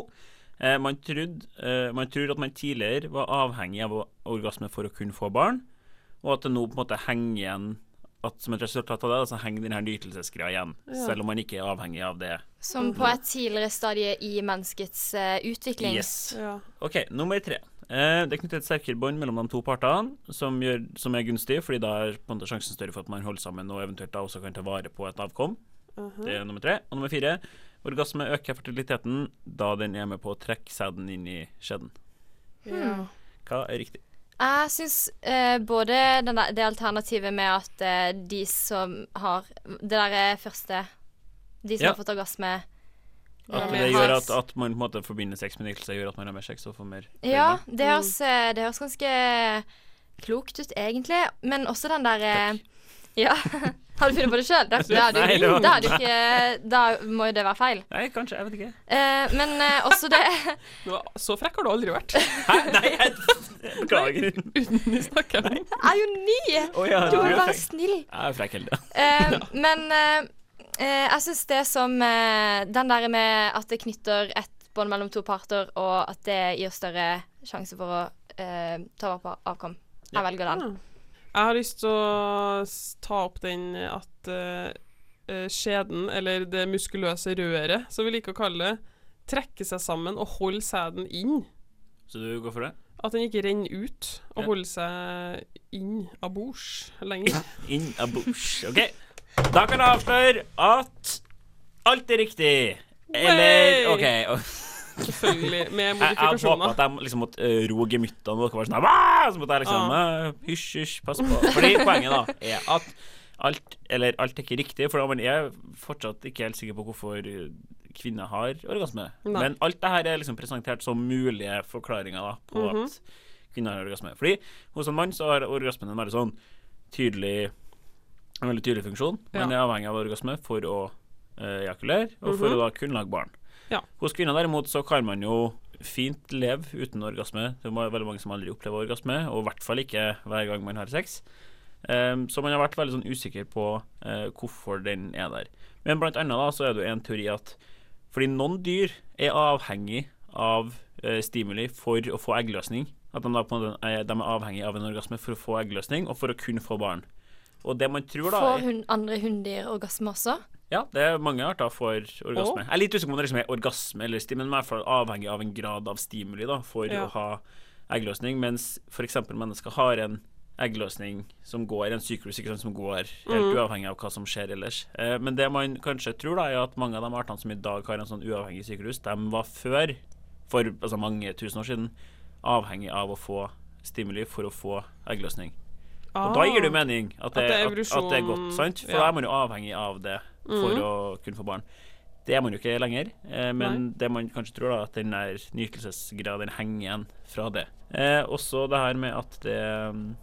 S5: Eh, man, trodde, eh, man tror at man tidligere var avhengig av å- orgasme for å kunne få barn, og at det nå på en måte henger igjen at som et resultat av det, da, så henger denne nytelsesgreia igjen.
S2: Ja.
S5: Selv om man ikke er avhengig av det.
S6: Som på et tidligere stadie i menneskets eh, utvikling.
S5: Yes.
S2: Ja.
S5: OK, nummer tre. Eh, det er knyttet et sterkere bånd mellom de to partene, som, gjør, som er gunstig, fordi da er på en måte sjansen større for at man holder sammen og eventuelt da også kan ta vare på et avkom. Det er nummer tre. Og nummer fire. Orgasme øker fertiliteten da den er med på å trekke sæden inn i skjeden.
S2: Ja.
S5: Hva er riktig?
S6: Jeg syns eh, både den der, det alternativet med at eh, de som har Det derre første De som
S5: Ja.
S6: har fått orgasme
S5: At
S6: eh,
S5: det
S6: har-
S5: gjør at, at man på en måte forbinder sex med nytelse, gjør at man har mer sex og får mer
S6: Ja, det høres, eh, det høres ganske klokt ut, egentlig. Men også den der eh, Ja. Har du funnet på det sjøl? Da, da, er du-
S5: Nei, det var-
S6: da, er du ikke- da må jo det være feil.
S5: Nei, kanskje. Jeg vet ikke.
S6: Eh, men eh, også det
S2: Nå, så frekk har du aldri vært.
S5: Hæ? Nei, jeg beklager.
S2: Uten de snakker jeg
S6: Jeg er jo ny!
S5: Å ja,
S6: Du
S5: du
S6: må
S5: er
S6: være
S5: frekk.
S6: snill.
S5: Jeg er frekk heldig.
S6: Eh, men eh, eh, jeg syns det som eh, Den der med at det knytter et bånd mellom to parter, og at det gir større sjanse for å eh, ta vare på avkom. Jeg velger den.
S2: Jeg har lyst til å s- ta opp den at eh, eh, skjeden, eller det muskuløse røret, som vi liker å kalle det, trekker seg sammen og holder sæden inn.
S5: Så du går for det?
S2: At den ikke renner ut og
S5: Ja.
S2: holder seg inn abords lenger.
S5: In a bush. OK. Da kan jeg avsløre at alt er riktig. Eller OK. Jeg,
S2: Selvfølgelig. Med
S5: jeg håpa
S2: modifikasjoner.
S5: at jeg liksom måtte eh, roe gemyttene, og dere var sånn her, «Wah!» Så måtte jeg liksom eh, Hysj, hysj, pass på. Fordi poenget da er at alt Eller alt er ikke riktig, for man er fortsatt ikke helt sikker på hvorfor eh, kvinner har orgasme.
S2: Nei.
S5: Men alt det her er liksom presentert som mulige forklaringer da på
S2: Mhm.
S5: at kvinner har orgasme. Fordi hos en mann så har orgasmen en veldig sånn tydelig en veldig tydelig funksjon. Man
S2: Ja.
S5: er avhengig av orgasme for å eh, ejakulere, og
S2: Mhm.
S5: for å da kunne lage barn.
S2: Ja.
S5: Hos kvinner derimot så kan man jo fint leve uten orgasme. Det er veldig mange som aldri opplever orgasme, og i hvert fall ikke hver gang man har sex. Ehm, så man har vært veldig sånn usikker på eh, hvorfor den er der. Men blant annet da, så er det jo en teori at fordi noen dyr er avhengig av eh, stimuli for å få eggløsning. At de, da på en måte er, de er avhengig av en orgasme for å få eggløsning og for å kunne få barn. Og det man tror da
S6: Får
S5: er-
S6: hun andre hunndyr orgasme også?
S5: ja, det er mange arter for orgasme. Jeg er litt usikker på om det liksom er orgasme eller stimuli, men i hvert fall avhengig av en grad av stimuli da, for
S2: Ja.
S5: å ha eggløsning. Mens f.eks. mennesker har en eggløsning som går, en syklus ikke sant, som går helt uavhengig av hva som skjer ellers. Eh, men det man kanskje tror, da, er at mange av de artene som i dag har en sånn uavhengig syklus, de var før, for altså mange tusen år siden, avhengig av å få stimuli for å få eggløsning. Og da gir det jo mening at det,
S2: At det er
S5: at, at det er godt,
S2: evolusjon-
S5: sant? For
S2: ja. Mhm.
S5: da er man jo avhengig av det for å kunne få barn. Det er man jo ikke lenger, eh, men det man kanskje tror, da, at den der nytelsesgreia, den henger igjen fra det. Eh, også det her med at det mm,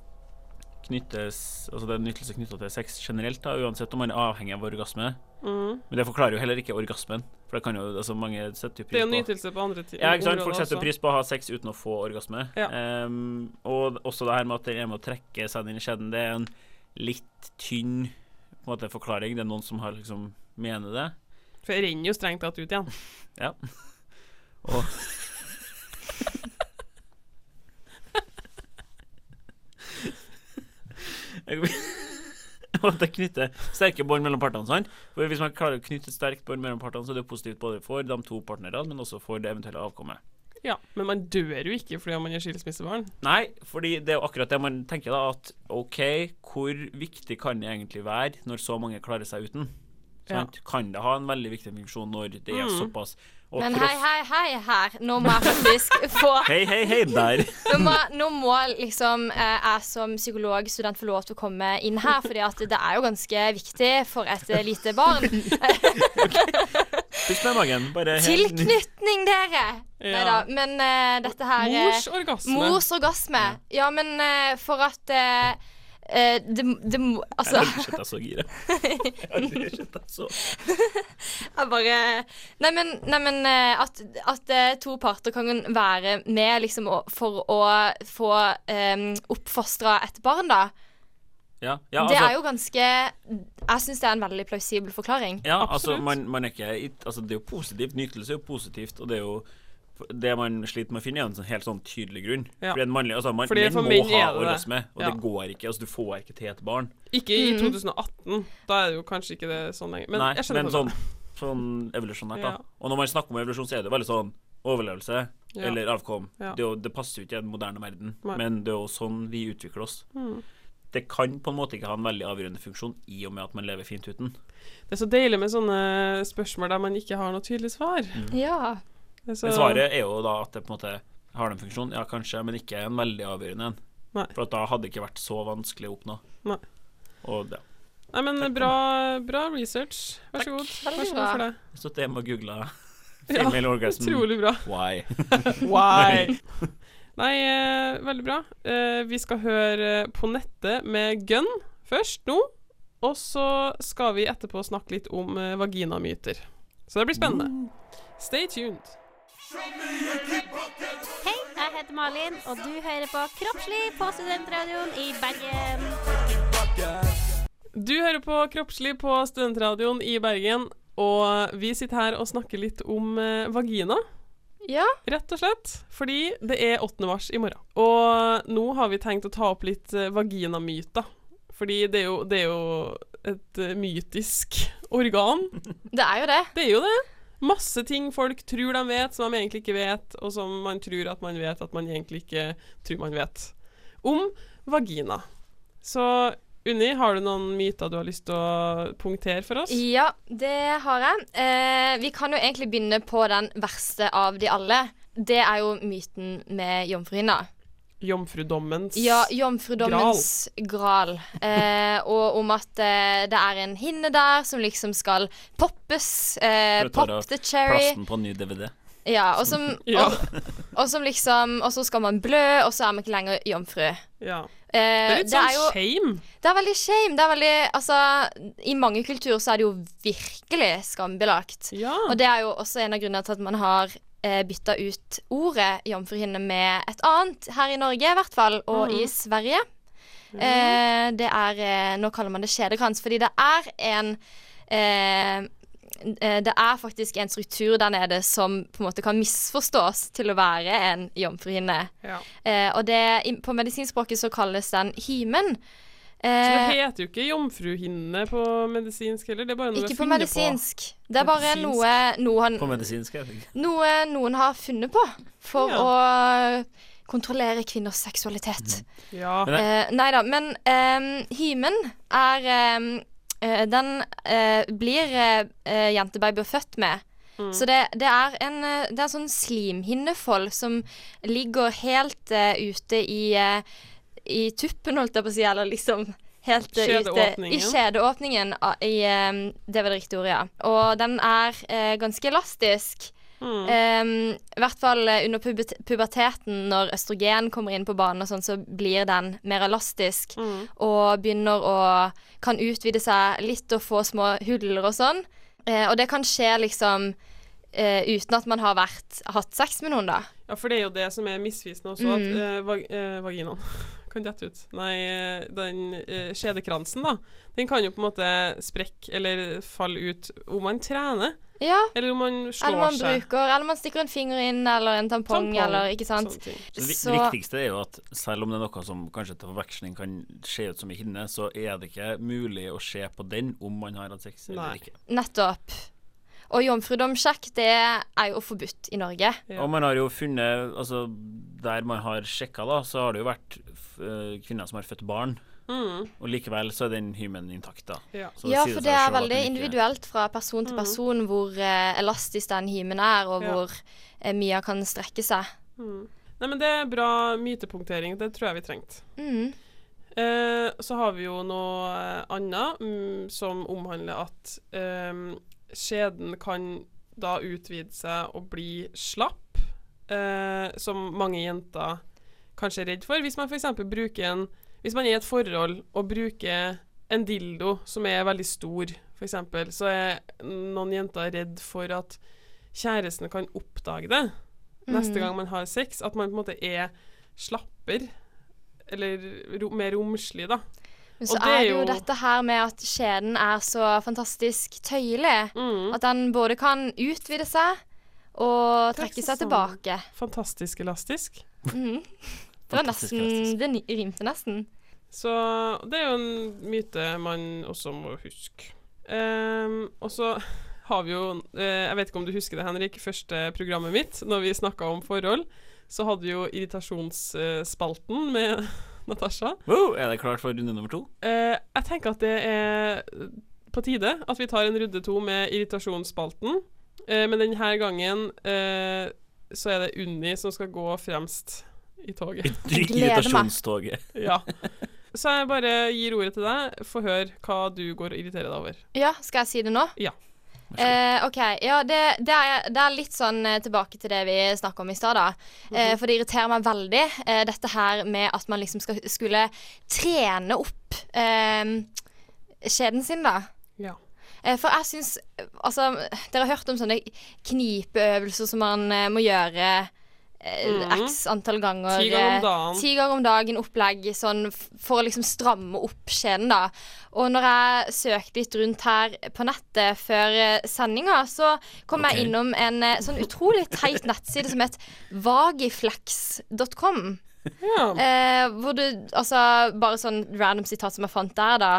S5: knyttes Altså det er nytelse knytta til sex generelt, da, uansett om man er avhengig av orgasme.
S2: Mhm.
S5: Men det forklarer jo heller ikke orgasmen, for det kan jo altså mange setter jo
S2: Det er
S5: pris
S2: jo
S5: på
S2: nytelse på andre ti-
S5: ja, ikke sant? Folk
S2: områder
S5: setter
S2: også.
S5: pris på å ha sex uten å få orgasme.
S2: Ja.
S5: Ehm, og også det her med at den er med å trekke seg inn i skjeden, det er en litt tynn på en måte, forklaring. Det er noen som har liksom mener det.
S2: For jeg renner jo strengt tatt ut igjen.
S5: Ja. Og Og at det knytter sterke bånd mellom partene. sant? For Hvis man klarer å knytte et sterkt bånd mellom partene, så er det positivt både for de to partnerne, men også for det eventuelle avkommet.
S2: Ja, Men man dør jo ikke fordi man er skilsmissebarn.
S5: Nei, fordi det er jo akkurat det man tenker da, at OK, hvor viktig kan det egentlig være
S2: Mm.
S5: når så mange klarer seg uten? Sant? Kan det ha en veldig viktig funksjon når det er såpass Og
S6: Men hei,
S5: kross-
S6: hei, hei her. Nå må jeg faktisk få
S5: Hei, hei, hei der.
S6: Nå må, nå må liksom eh, jeg som psykologstudent få lov til å komme inn her, fordi at det er jo ganske viktig for et eh, lite barn.
S5: Pust med magen. Bare helt
S6: Tilknytning, dere! Nei da.
S2: Ja.
S6: Men eh, dette her eh,
S2: Mors orgasme.
S6: Mors orgasme. Ja, men eh, for at eh, eh, det, det må
S5: Jeg
S6: Altså,
S5: har aldri sett deg så gira. Jeg har aldri sett deg så
S6: jeg bare Nei, men, nei, men eh, at, at eh, to parter kan være med liksom, å- for å få um, oppfostra et barn, da.
S5: Ja, ja,
S6: det
S5: altså-
S6: er jo ganske Jeg syns det er en veldig plausibel forklaring.
S5: Ja, altså,
S2: Absolutt.
S5: man, man er ikke, it- altså, det er jo positivt. Nytelse er jo positivt, og det er jo det man sliter med å finne, er en sånn, helt sånn tydelig grunn.
S2: Ja.
S5: Fordi en mannlig, altså, man,
S2: Fordi for
S5: menn
S2: menn
S5: må ha
S2: er det det.
S5: orgasme, og
S2: Ja.
S5: det går ikke. Altså, du får ikke til et barn.
S2: Ikke i 2018. Da er det jo kanskje ikke det sånn lenger. Men
S5: Nei,
S2: jeg skjønner
S5: men
S2: hva du
S5: sånn, sånn evolusjonært, da.
S2: Ja.
S5: Og når man snakker om evolusjon, så er det veldig sånn overlevelse
S2: Ja.
S5: eller avkom.
S2: Ja.
S5: Det, er jo, det passer jo ikke i den moderne verden,
S2: Nei. Mm.
S5: men det er jo sånn vi utvikler oss. Det kan på en måte ikke ha en veldig avgjørende funksjon i og med at man lever fint uten.
S2: Det er så deilig med sånne spørsmål der man ikke har noe tydelig svar.
S6: Ja.
S2: Det er så-
S5: Mm. Men svaret er jo da at det på en måte har den funksjonen, ja kanskje, men ikke en veldig avgjørende en.
S2: Nei.
S5: For at da hadde det ikke vært så vanskelig å oppnå.
S2: Nei.
S5: Og det.
S2: Nei, men bra, bra research. Vær så god. Vær så god for det.
S5: Så det med å google
S2: Ja,
S5: female orgasm
S2: Utrolig bra.
S5: why.
S2: Why? Nei, eh, veldig bra. Eh, vi skal høre På nettet med Gun først nå. Og så skal vi etterpå snakke litt om eh, vaginamyter. Så det blir spennende. Stay tuned.
S7: Hei, jeg heter Malin, og du hører på Kroppslig på Studentradioen i Bergen.
S2: Du hører på Kroppslig på Studentradioen i Bergen, og vi sitter her og snakker litt om eh, vagina,
S6: ja.
S2: rett og slett. Fordi det er 8. mars i morgen. Og nå har vi tenkt å ta opp litt eh, vaginamyter. Fordi det er jo, det er jo et eh, mytisk organ.
S6: Det er jo det.
S2: Det er jo det. Masse ting folk tror de vet, som de egentlig ikke vet, og som man tror at man vet, at man egentlig ikke tror man vet. Om vagina. Så Unni, har du noen myter du har lyst til å punktere for oss?
S6: Ja, det har jeg. Eh, vi kan jo egentlig begynne på den verste av de alle. Det er jo myten med jomfruhinna.
S2: Jomfrudommens
S6: Ja, jomfrudommens gral. Eh, og om at eh, det er en hinne der som liksom skal poppes. Eh,
S5: For å ta det
S6: pop
S5: av
S6: the cherry.
S5: Plasten på en ny DVD.
S6: Ja, og som,
S2: Ja.
S6: og, og som liksom Og så skal man blø, og så er man ikke lenger jomfru. Eh,
S2: ja. Det er
S6: det,
S2: litt sånn
S6: er jo,
S2: shame.
S6: det er veldig shame. Det er veldig Altså, i mange kulturer så er det jo virkelig skambelagt.
S2: Ja.
S6: Og det er jo også en av grunnene til at man har eh, bytta ut ordet jomfruhinne med et annet, her i Norge i hvert fall, og i Sverige. Eh, det er eh, Nå kaller man det kjedekrans, fordi det er en eh, eh, det er faktisk en struktur der nede som på en måte kan misforstås til å være en jomfruhinne.
S2: ja.
S6: Eh, og det, i- på medisinspråket så kalles den hymen.
S2: Så det
S6: Eh,
S2: heter jo ikke jomfruhinne på medisinsk heller, det er bare noe
S6: ikke
S2: jeg
S6: på
S2: finner
S6: medisinsk. Det er bare
S2: Medisinsk.
S6: noe, noe han
S5: På medisinsk, jeg tenker.
S6: Noe noen har funnet på for
S2: Ja.
S6: å kontrollere kvinners seksualitet.
S2: på. Ja.
S5: Men det-
S6: Eh, nei da, men eh, hymen er eh, eh, Den eh, blir eh, eh, jentebabyer født med. Så det, det er en eh, Det er en sånn slimhinnefold som ligger helt eh, ute i eh, I tuppen, holdt jeg på å si, eller liksom Helt eh, ute
S2: Kjedeåpningen.
S6: i kjedeåpningen ah, i eh, Det var det riktige ordet, ja. Og den er eh, ganske elastisk. Ehm, I hvert fall eh, under pubert puberteten, når østrogen kommer inn på banen, og sånn, så blir den mer elastisk og begynner å kan utvide seg litt og få små hudler og sånn. Eh, og det kan skje liksom eh, uten at man har vært, hatt sex med noen, da.
S2: Ja, for det er jo det som er misvisende også, at
S6: Mm.
S2: eh, vag eh, vaginaen kan dette ut. Nei, eh, den eh, skjedekransen, da, den kan jo på en måte sprekke eller falle ut om man trener,
S6: Ja.
S2: eller om man slår
S6: Eller man
S2: seg.
S6: bruker Eller man stikker en finger inn, eller en tampong,
S2: Tampong, Sånn.
S6: eller ikke sant.
S2: sånne ting.
S5: Så det,
S6: Så-
S5: det viktigste er jo at selv om det er noe som kanskje til forveksling kan se ut som en hinne, så er det ikke mulig å se på den om man har hatt sex eller
S2: Nei.
S5: ikke.
S6: Nettopp. Og jomfrudomsjekk, det er jo forbudt i Norge.
S2: Ja.
S5: Og man har jo funnet Altså, der man har sjekka, da, så har det jo vært f- eh, kvinner som har født barn
S2: Mm.
S5: Og likevel så er den hymen intakt, da.
S2: Ja.
S5: Så
S6: Ja,
S5: sier seg
S6: for det er
S5: selv at
S6: veldig
S5: den ikke-
S6: individuelt fra person til person hvor eh, elastisk den hymen er, og
S2: Mm. Ja.
S6: hvor eh, mye han kan strekke seg.
S2: Nei, men det er bra mytepunktering. Det tror jeg vi trengte.
S6: Mm.
S2: Eh, så har vi jo noe eh, annet mm, som omhandler at eh, skjeden kan da utvide seg og bli slapp, eh, som mange jenter kanskje er redd for. Hvis man f.eks. bruker en Hvis man er i et forhold og bruker en dildo som er veldig stor, f.eks., så er noen jenter redd for at kjæresten kan oppdage det neste gang man har sex, at man på en måte er slapper. Eller ro mer romslig, da.
S6: Men så
S2: Og det
S6: er
S2: er
S6: det jo
S2: jo-
S6: dette her med at skjeden er så fantastisk tøyelig.
S2: Mm.
S6: At den både kan utvide seg og
S2: Trekke
S6: trekke
S2: seg
S6: seg tilbake.
S2: Fantastisk elastisk.
S6: Mhm. Det var
S4: Fantastisk
S6: nesten Det ni- rimte nesten.
S2: Så det er jo en myte man også må huske. Ehm, og så har vi jo eh, Jeg vet ikke om du husker det, Henrik. Første programmet mitt, når vi snakka om forhold, så hadde vi jo irritasjonsspalten med Natasha.
S5: Wow, er det klart for runde nummer to?
S2: Eh, jeg tenker at det er på tide at vi tar en runde to med irritasjonsspalten. Eh, men denne gangen eh, så er det Unni som skal gå fremst i toget.
S6: Jeg gleder meg.
S5: Irritasjonstoget.
S2: Ja. Så jeg bare gir ordet til deg. Få høre hva du går og irriterer deg over.
S6: Ja, skal jeg si det nå?
S2: Ja.
S6: Eh, OK. Ja, det, det, er, det er litt sånn eh, tilbake til det vi snakka om i stad, da. Eh, for det irriterer meg veldig, eh, dette her med at man liksom skal, skulle trene opp eh, skjeden sin, da.
S2: Ja.
S6: Eh, For jeg syns Altså, dere har hørt om sånne knipeøvelser som man eh, må gjøre eh,
S2: Mhm.
S6: x antall ganger.
S2: Ti ganger om
S6: eh,
S2: dagen.
S6: Ti ganger om dagen opplegg sånn f- for å liksom stramme opp skjeden, da. Og når jeg søkte litt rundt her på nettet før eh, sendinga, så kom
S4: Ok.
S6: jeg innom en eh, sånn utrolig teit nettside som het vagiflex.com.
S2: Ja.
S6: Eh, hvor du, altså, bare sånn random sitat som jeg fant der, da.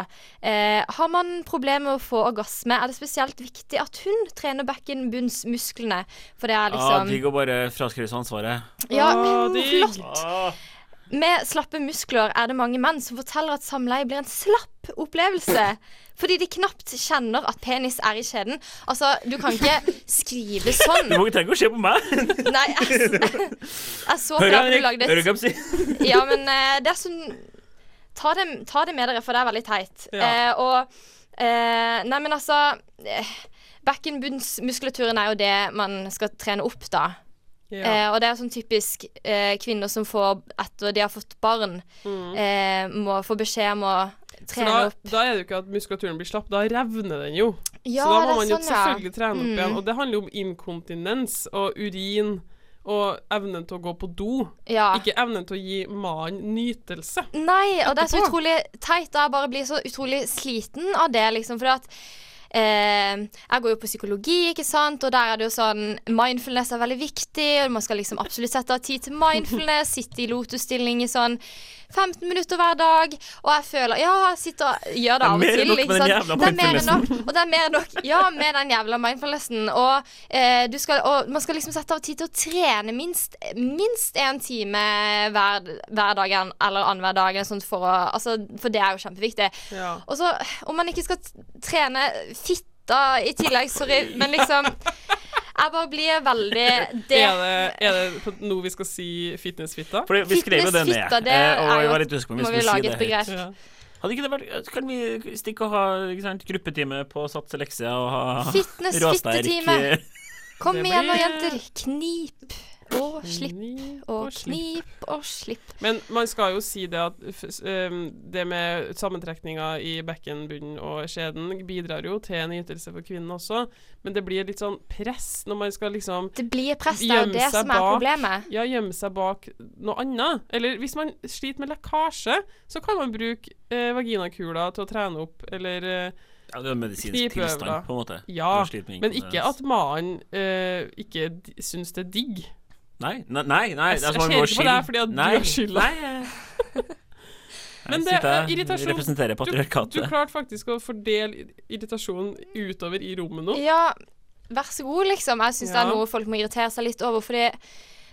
S6: Eh, har man problemer med å få orgasme, er det spesielt viktig at hun trener bekkenbunnsmusklene. For det er
S5: Ja,
S6: liksom
S5: digg å bare fraskrive seg ansvaret.
S6: Ja,
S2: Å, digg.
S6: flott! Med slappe muskler er det mange menn som forteller at samleie blir en slapp opplevelse. Fordi de knapt kjenner at penis er i skjeden. Altså, du kan ikke skrive sånn.
S5: Du må ikke trenge å se på meg!
S6: Nei, jeg, jeg, så på
S5: Hører
S6: deg at
S5: du,
S6: du lagde
S5: Hører
S6: et
S5: du hva jeg sier?
S6: Ja, men eh, det er sånn ta det, ta det med dere, for det er veldig teit.
S2: Ja.
S6: Eh, og eh, Nei, men altså eh, Bekkenbunnsmuskulaturen er jo det man skal trene opp, da.
S2: ja.
S6: Eh, og det er sånn typisk eh, kvinner som får, etter de har fått barn, eh, må få beskjed om å
S2: For
S6: trene
S2: Mm. da,
S6: opp.
S2: da er det jo ikke at muskulaturen blir slapp, da revner den jo.
S6: Ja,
S2: så da må
S6: det er
S2: man jo
S6: sånn, ja.
S2: selvfølgelig trene opp
S6: Mm.
S2: igjen. Og det handler jo om inkontinens og urin og evnen til å gå på do.
S6: Ja.
S2: Ikke evnen til å gi mannen nytelse.
S6: Nei, og det er så
S2: Etterpå.
S6: utrolig teit. og Jeg bare blir så utrolig sliten av det, liksom. For at eh, jeg går jo på psykologi, ikke sant, og der er det jo sånn Mindfulness er veldig viktig, og man skal liksom absolutt sette av tid til mindfulness. Sitte i lotusstilling i sånn 15 minutter hver dag. Og jeg føler Ja, jeg sitter og gjør det av og
S5: Det er mer enn
S6: til.
S5: nok
S6: ikke
S5: med den jævla
S6: sant? Det er mer enn nok. Og det er mer enn nok. Ja, med den jævla mindfulnessen. Og, eh, du skal, og man skal liksom sette av tid til å trene minst minst én time hver, hver dag en- eller annenhver dag. eller Sånt for, å, altså, for det er jo kjempeviktig.
S2: Ja.
S6: Og så, om man ikke skal t- trene fitta i tillegg, sorry, men liksom Jeg bare blir veldig det.
S2: Er det, er det på- nå vi skal si fitnessfitta?
S5: For vi skrev jo det ned,
S6: Fitnessfitta, det
S5: eh,
S6: er
S5: og jeg
S6: jo-
S5: var litt usikker på om vi
S6: Må vi
S5: skulle
S6: lage
S5: si
S6: et
S5: det.
S6: begrep?
S2: Ja.
S5: Hadde ikke det vært eh, Kan vi stikke og ha ikke sant, gruppetime på Sats Elixia og ha
S6: Fitness,
S5: råsterk eh,
S6: fittetime. Kom
S2: Det
S6: igjen nå,
S2: blir-
S6: jenter. Knip og slipp
S2: Knip
S6: og
S2: og slipp.
S6: knip og slipp.
S2: Men man skal jo si det at f s- um, det med sammentrekninga i bekkenbunnen og skjeden bidrar jo til en ytelse for kvinnen også, men det blir litt sånn press når man skal liksom
S6: Det blir press, det er jo
S2: Gjemme
S6: det
S2: seg
S6: som er
S2: bak.
S6: problemet.
S2: ja, gjemme seg bak noe annet. Eller hvis man sliter med lekkasje, så kan man bruke eh, vaginakula til å trene opp, eller eh,
S5: Ja, det er en medisinsk
S2: Knipeøver, da.
S5: tilstand, på en måte.
S2: Ja,
S5: Du sliter med
S2: Men ikke at mannen eh, ikke d- syns det er digg.
S5: Nei, nei, nei. nei
S2: Jeg-
S5: det
S2: jeg
S5: er som om vi
S2: ser
S5: må
S2: ikke på
S5: skille.
S2: deg fordi at du
S5: nei,
S2: har skylda.
S5: Nei, jeg-
S2: Men
S5: jeg
S2: det
S5: sitter
S2: er
S5: her,
S2: irritasjon.
S5: representerer
S2: Du,
S5: patriarkatet.
S2: du klarte faktisk å fordele irritasjonen utover i rommet nå.
S6: Ja, vær så god, liksom. Jeg syns det
S2: Ja.
S6: er noe folk må irritere seg litt over, fordi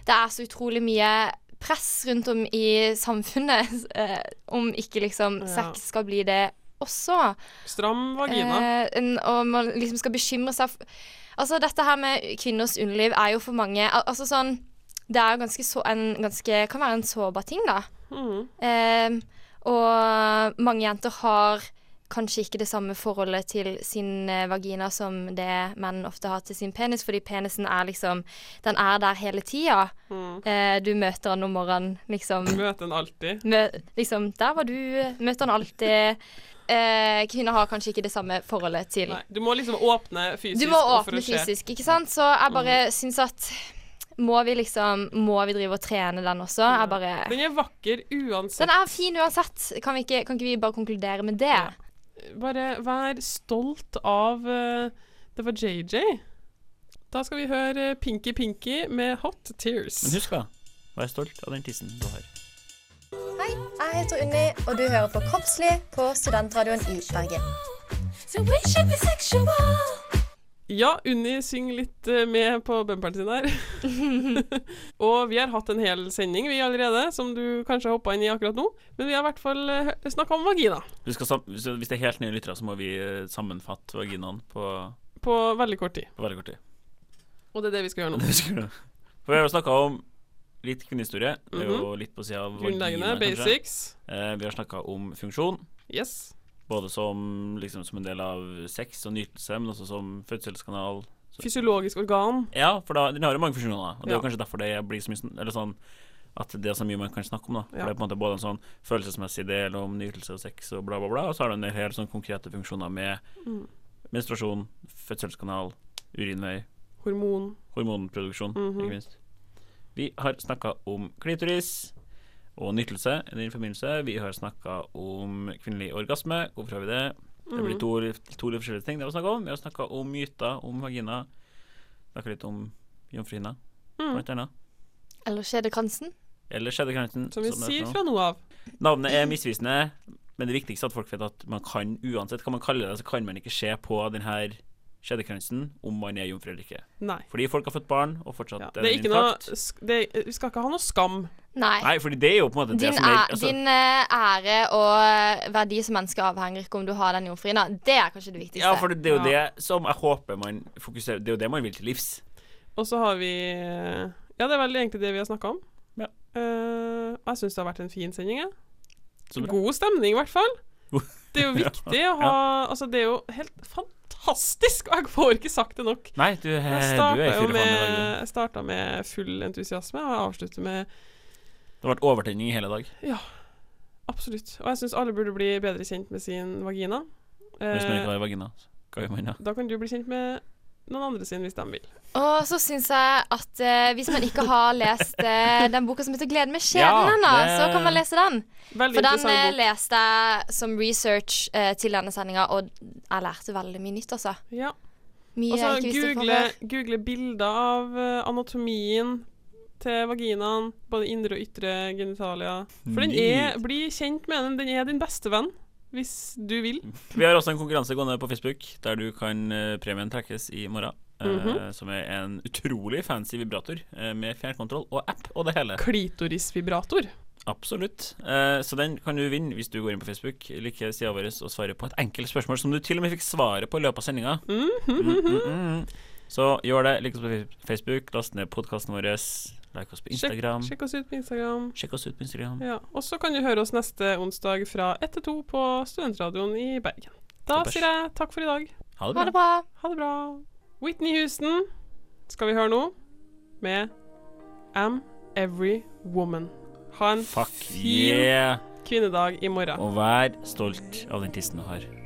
S6: det er så utrolig mye press rundt om i samfunnet eh, om ikke liksom
S2: Ja.
S6: sex skal bli det også.
S2: Stram vagina.
S6: Eh, en, og man liksom skal bekymre seg f- Altså, dette her med kvinners underliv er jo for mange al Altså sånn Det er ganske så, en ganske Kan være en sårbar ting, da.
S2: Mhm.
S6: Eh, og mange jenter har kanskje ikke det samme forholdet til sin eh, vagina som det menn ofte har til sin penis, fordi penisen er liksom Den er der hele tida.
S2: Mm.
S6: Eh, du møter han om morgenen, liksom.
S2: Møter en alltid.
S6: Mø liksom der var du. Møter han alltid. Eh, kvinner har kanskje ikke det samme forholdet til
S2: Nei, du må liksom åpne fysisk.
S6: du må
S2: og for
S6: åpne
S2: å se.
S6: fysisk, ikke sant? Så jeg bare
S5: Mm.
S6: syns at må vi liksom Må vi drive og trene den også? Jeg bare
S2: Den er vakker uansett.
S5: sånn.
S6: Den er fin uansett. Kan, vi ikke, kan ikke vi bare konkludere med det?
S2: Bare vær stolt av eh, Det var JJ. Da skal vi høre eh, Pinky Pinky med Hot Tears.
S8: Men husk, da. Vær stolt av den tissen du har.
S3: Hei, jeg heter Unni, og du hører på Kroppslig på Studentradioen i Bergen.
S2: Ja, Unni synger litt eh, med på bumperen sin her. og vi har hatt en hel sending vi allerede, som du kanskje har hoppa inn i akkurat nå. Men vi har i hvert fall snakka om vagina
S5: Du skal sam hvis hvis det er helt nye lyttere, så må vi eh, sammenfatte vaginaen på,
S2: på veldig kort tid.
S5: på veldig kort tid.
S2: Og det er det vi skal gjøre nå.
S5: Det skulle du. For vi har jo snakka om litt kvinnehistorie. Det er jo litt på sida av
S2: Mhm. Grunnleggende
S5: vagina, kanskje.
S2: basics.
S5: Eh, vi har snakka om funksjon,
S2: Yes.
S5: både som, liksom, som en del av sex og nytelse, men også som fødselskanal.
S2: Fysiologisk organ.
S5: Ja, for da, den har jo mange funksjoner, og det er
S2: Ja.
S5: jo kanskje derfor det blir så mye sånn- Eller sånn at det er så mye man kan snakke om, da. For
S2: Ja.
S5: Det er på en måte både en sånn følelsesmessig del om nytelse og sex og bla, bla, bla, og så har du en del helt sånn konkrete funksjoner med
S2: Mm.
S5: menstruasjon, fødselskanal, urinvei,
S2: Hormon.
S5: hormonproduksjon,
S2: Mhm.
S5: ikke minst. Vi har snakka om klitoris og nytelse i den forbindelse. Vi har snakka om kvinnelig orgasme. Hvorfor har vi det? Det
S2: Mhm.
S5: blir to, to litt forskjellige ting det var snakk om. Vi har snakka om myter om vagina. Snakka litt om jomfruhinna,
S2: Mhm.
S5: blant annet.
S6: Eller skjedekransen?
S5: Eller skjeddekransen.
S2: Som vi
S5: det
S2: sier
S5: heter nå.
S2: fra nå av.
S5: Navnet er misvisende, men det viktigste er at folk vet at man kan, uansett hva man kaller det, så kan man ikke se på denne skjeddekransen om man er jomfru eller ikke.
S2: Nei.
S5: Fordi folk har fått barn, og fortsatt
S2: Ja.
S5: er
S2: Det er
S5: den
S2: ikke noe,
S5: intakt.
S2: sk- det, vi skal ikke ha noe skam.
S6: Nei.
S5: Nei, fordi det er jo på en måte det
S6: Din,
S5: som er
S6: æ-
S5: altså,
S6: din eh, ære og eh, verdi som menneske avhenger ikke om du har den jomfruen. da. Det er kanskje det viktigste.
S5: Ja, for det, det er jo
S2: Ja.
S5: det som jeg håper man fokuserer Det er jo det man vil til livs.
S2: Og så har vi eh, Ja, det er vel egentlig det vi har snakka om.
S5: Ja.
S2: Eh, jeg syns det har vært en fin sending, jeg.
S5: Så bra.
S2: God stemning, i hvert fall.
S5: God.
S2: Det er jo viktig å ha Altså, det er jo helt fantastisk, og jeg får ikke sagt det nok.
S5: Nei, du, eh,
S2: Jeg
S5: du
S2: starta
S5: er
S2: jo
S5: fyrefaen i
S2: med,
S5: dag. du.
S2: jeg startet med full entusiasme, og jeg avslutter med
S5: Det har vært overtenning i hele dag.
S2: absolutt. Og jeg syns alle burde bli bedre kjent med sin vagina.
S5: Hvis man
S2: Eh,
S5: ikke har vagina, hva gjør man da?
S2: da kan du bli kjent med noen andre sin, hvis de vil.
S6: Og så syns jeg at eh, hvis man ikke har lest eh, den boka som heter 'Glede med
S5: Ja,
S6: skjebnen' ennå,
S5: det-
S6: så kan man lese den.
S2: Veldig
S6: For den eh,
S2: interessant bok.
S6: leste jeg som research eh, til denne sendinga, og jeg lærte veldig mye nytt, altså.
S2: Ja.
S6: Mye
S2: Og så
S6: jeg ikke visste fra
S2: Altså, google,
S6: før.
S2: google bilder av eh, anatomien til vaginaen. Både indre og ytre genitalia. For den er Bli kjent med den. Den er din beste venn, hvis du vil.
S5: Vi har også en konkurranse gående på Facebook, der du kan eh, premien trekkes i morgen. eh,
S2: Mhm.
S5: Som er en utrolig fancy vibrator eh, med fjernkontroll og app og det hele.
S2: Klitorisvibrator.
S5: Absolutt. Eh, så den kan du vinne hvis du går inn på Facebook, liker sida vår og svarer på et enkelt spørsmål som du til og med fikk svaret på i løpet av sendinga.
S2: Mm-hmm.
S5: Mm, mm, mm. Så gjør det. Lik oss på Fe- Facebook, last ned podkasten vår, like oss på
S2: Sjekk,
S5: Instagram. Sjekk,
S2: sjekk oss ut på Instagram.
S5: oss ut på Instagram.
S2: Ja, Og så kan du høre oss neste onsdag fra 1 til 2 på Studentradioen i Bergen. Da
S5: Toppers.
S2: sier jeg takk for i dag.
S5: Ha det bra.
S6: Ha det bra.
S2: Ha det bra. Whitney Houston skal vi høre nå med Am Every Woman. Ha en
S5: Fuck
S2: fin
S5: yeah!
S2: kvinnedag i morgen.
S5: Og vær stolt av den tissen du har.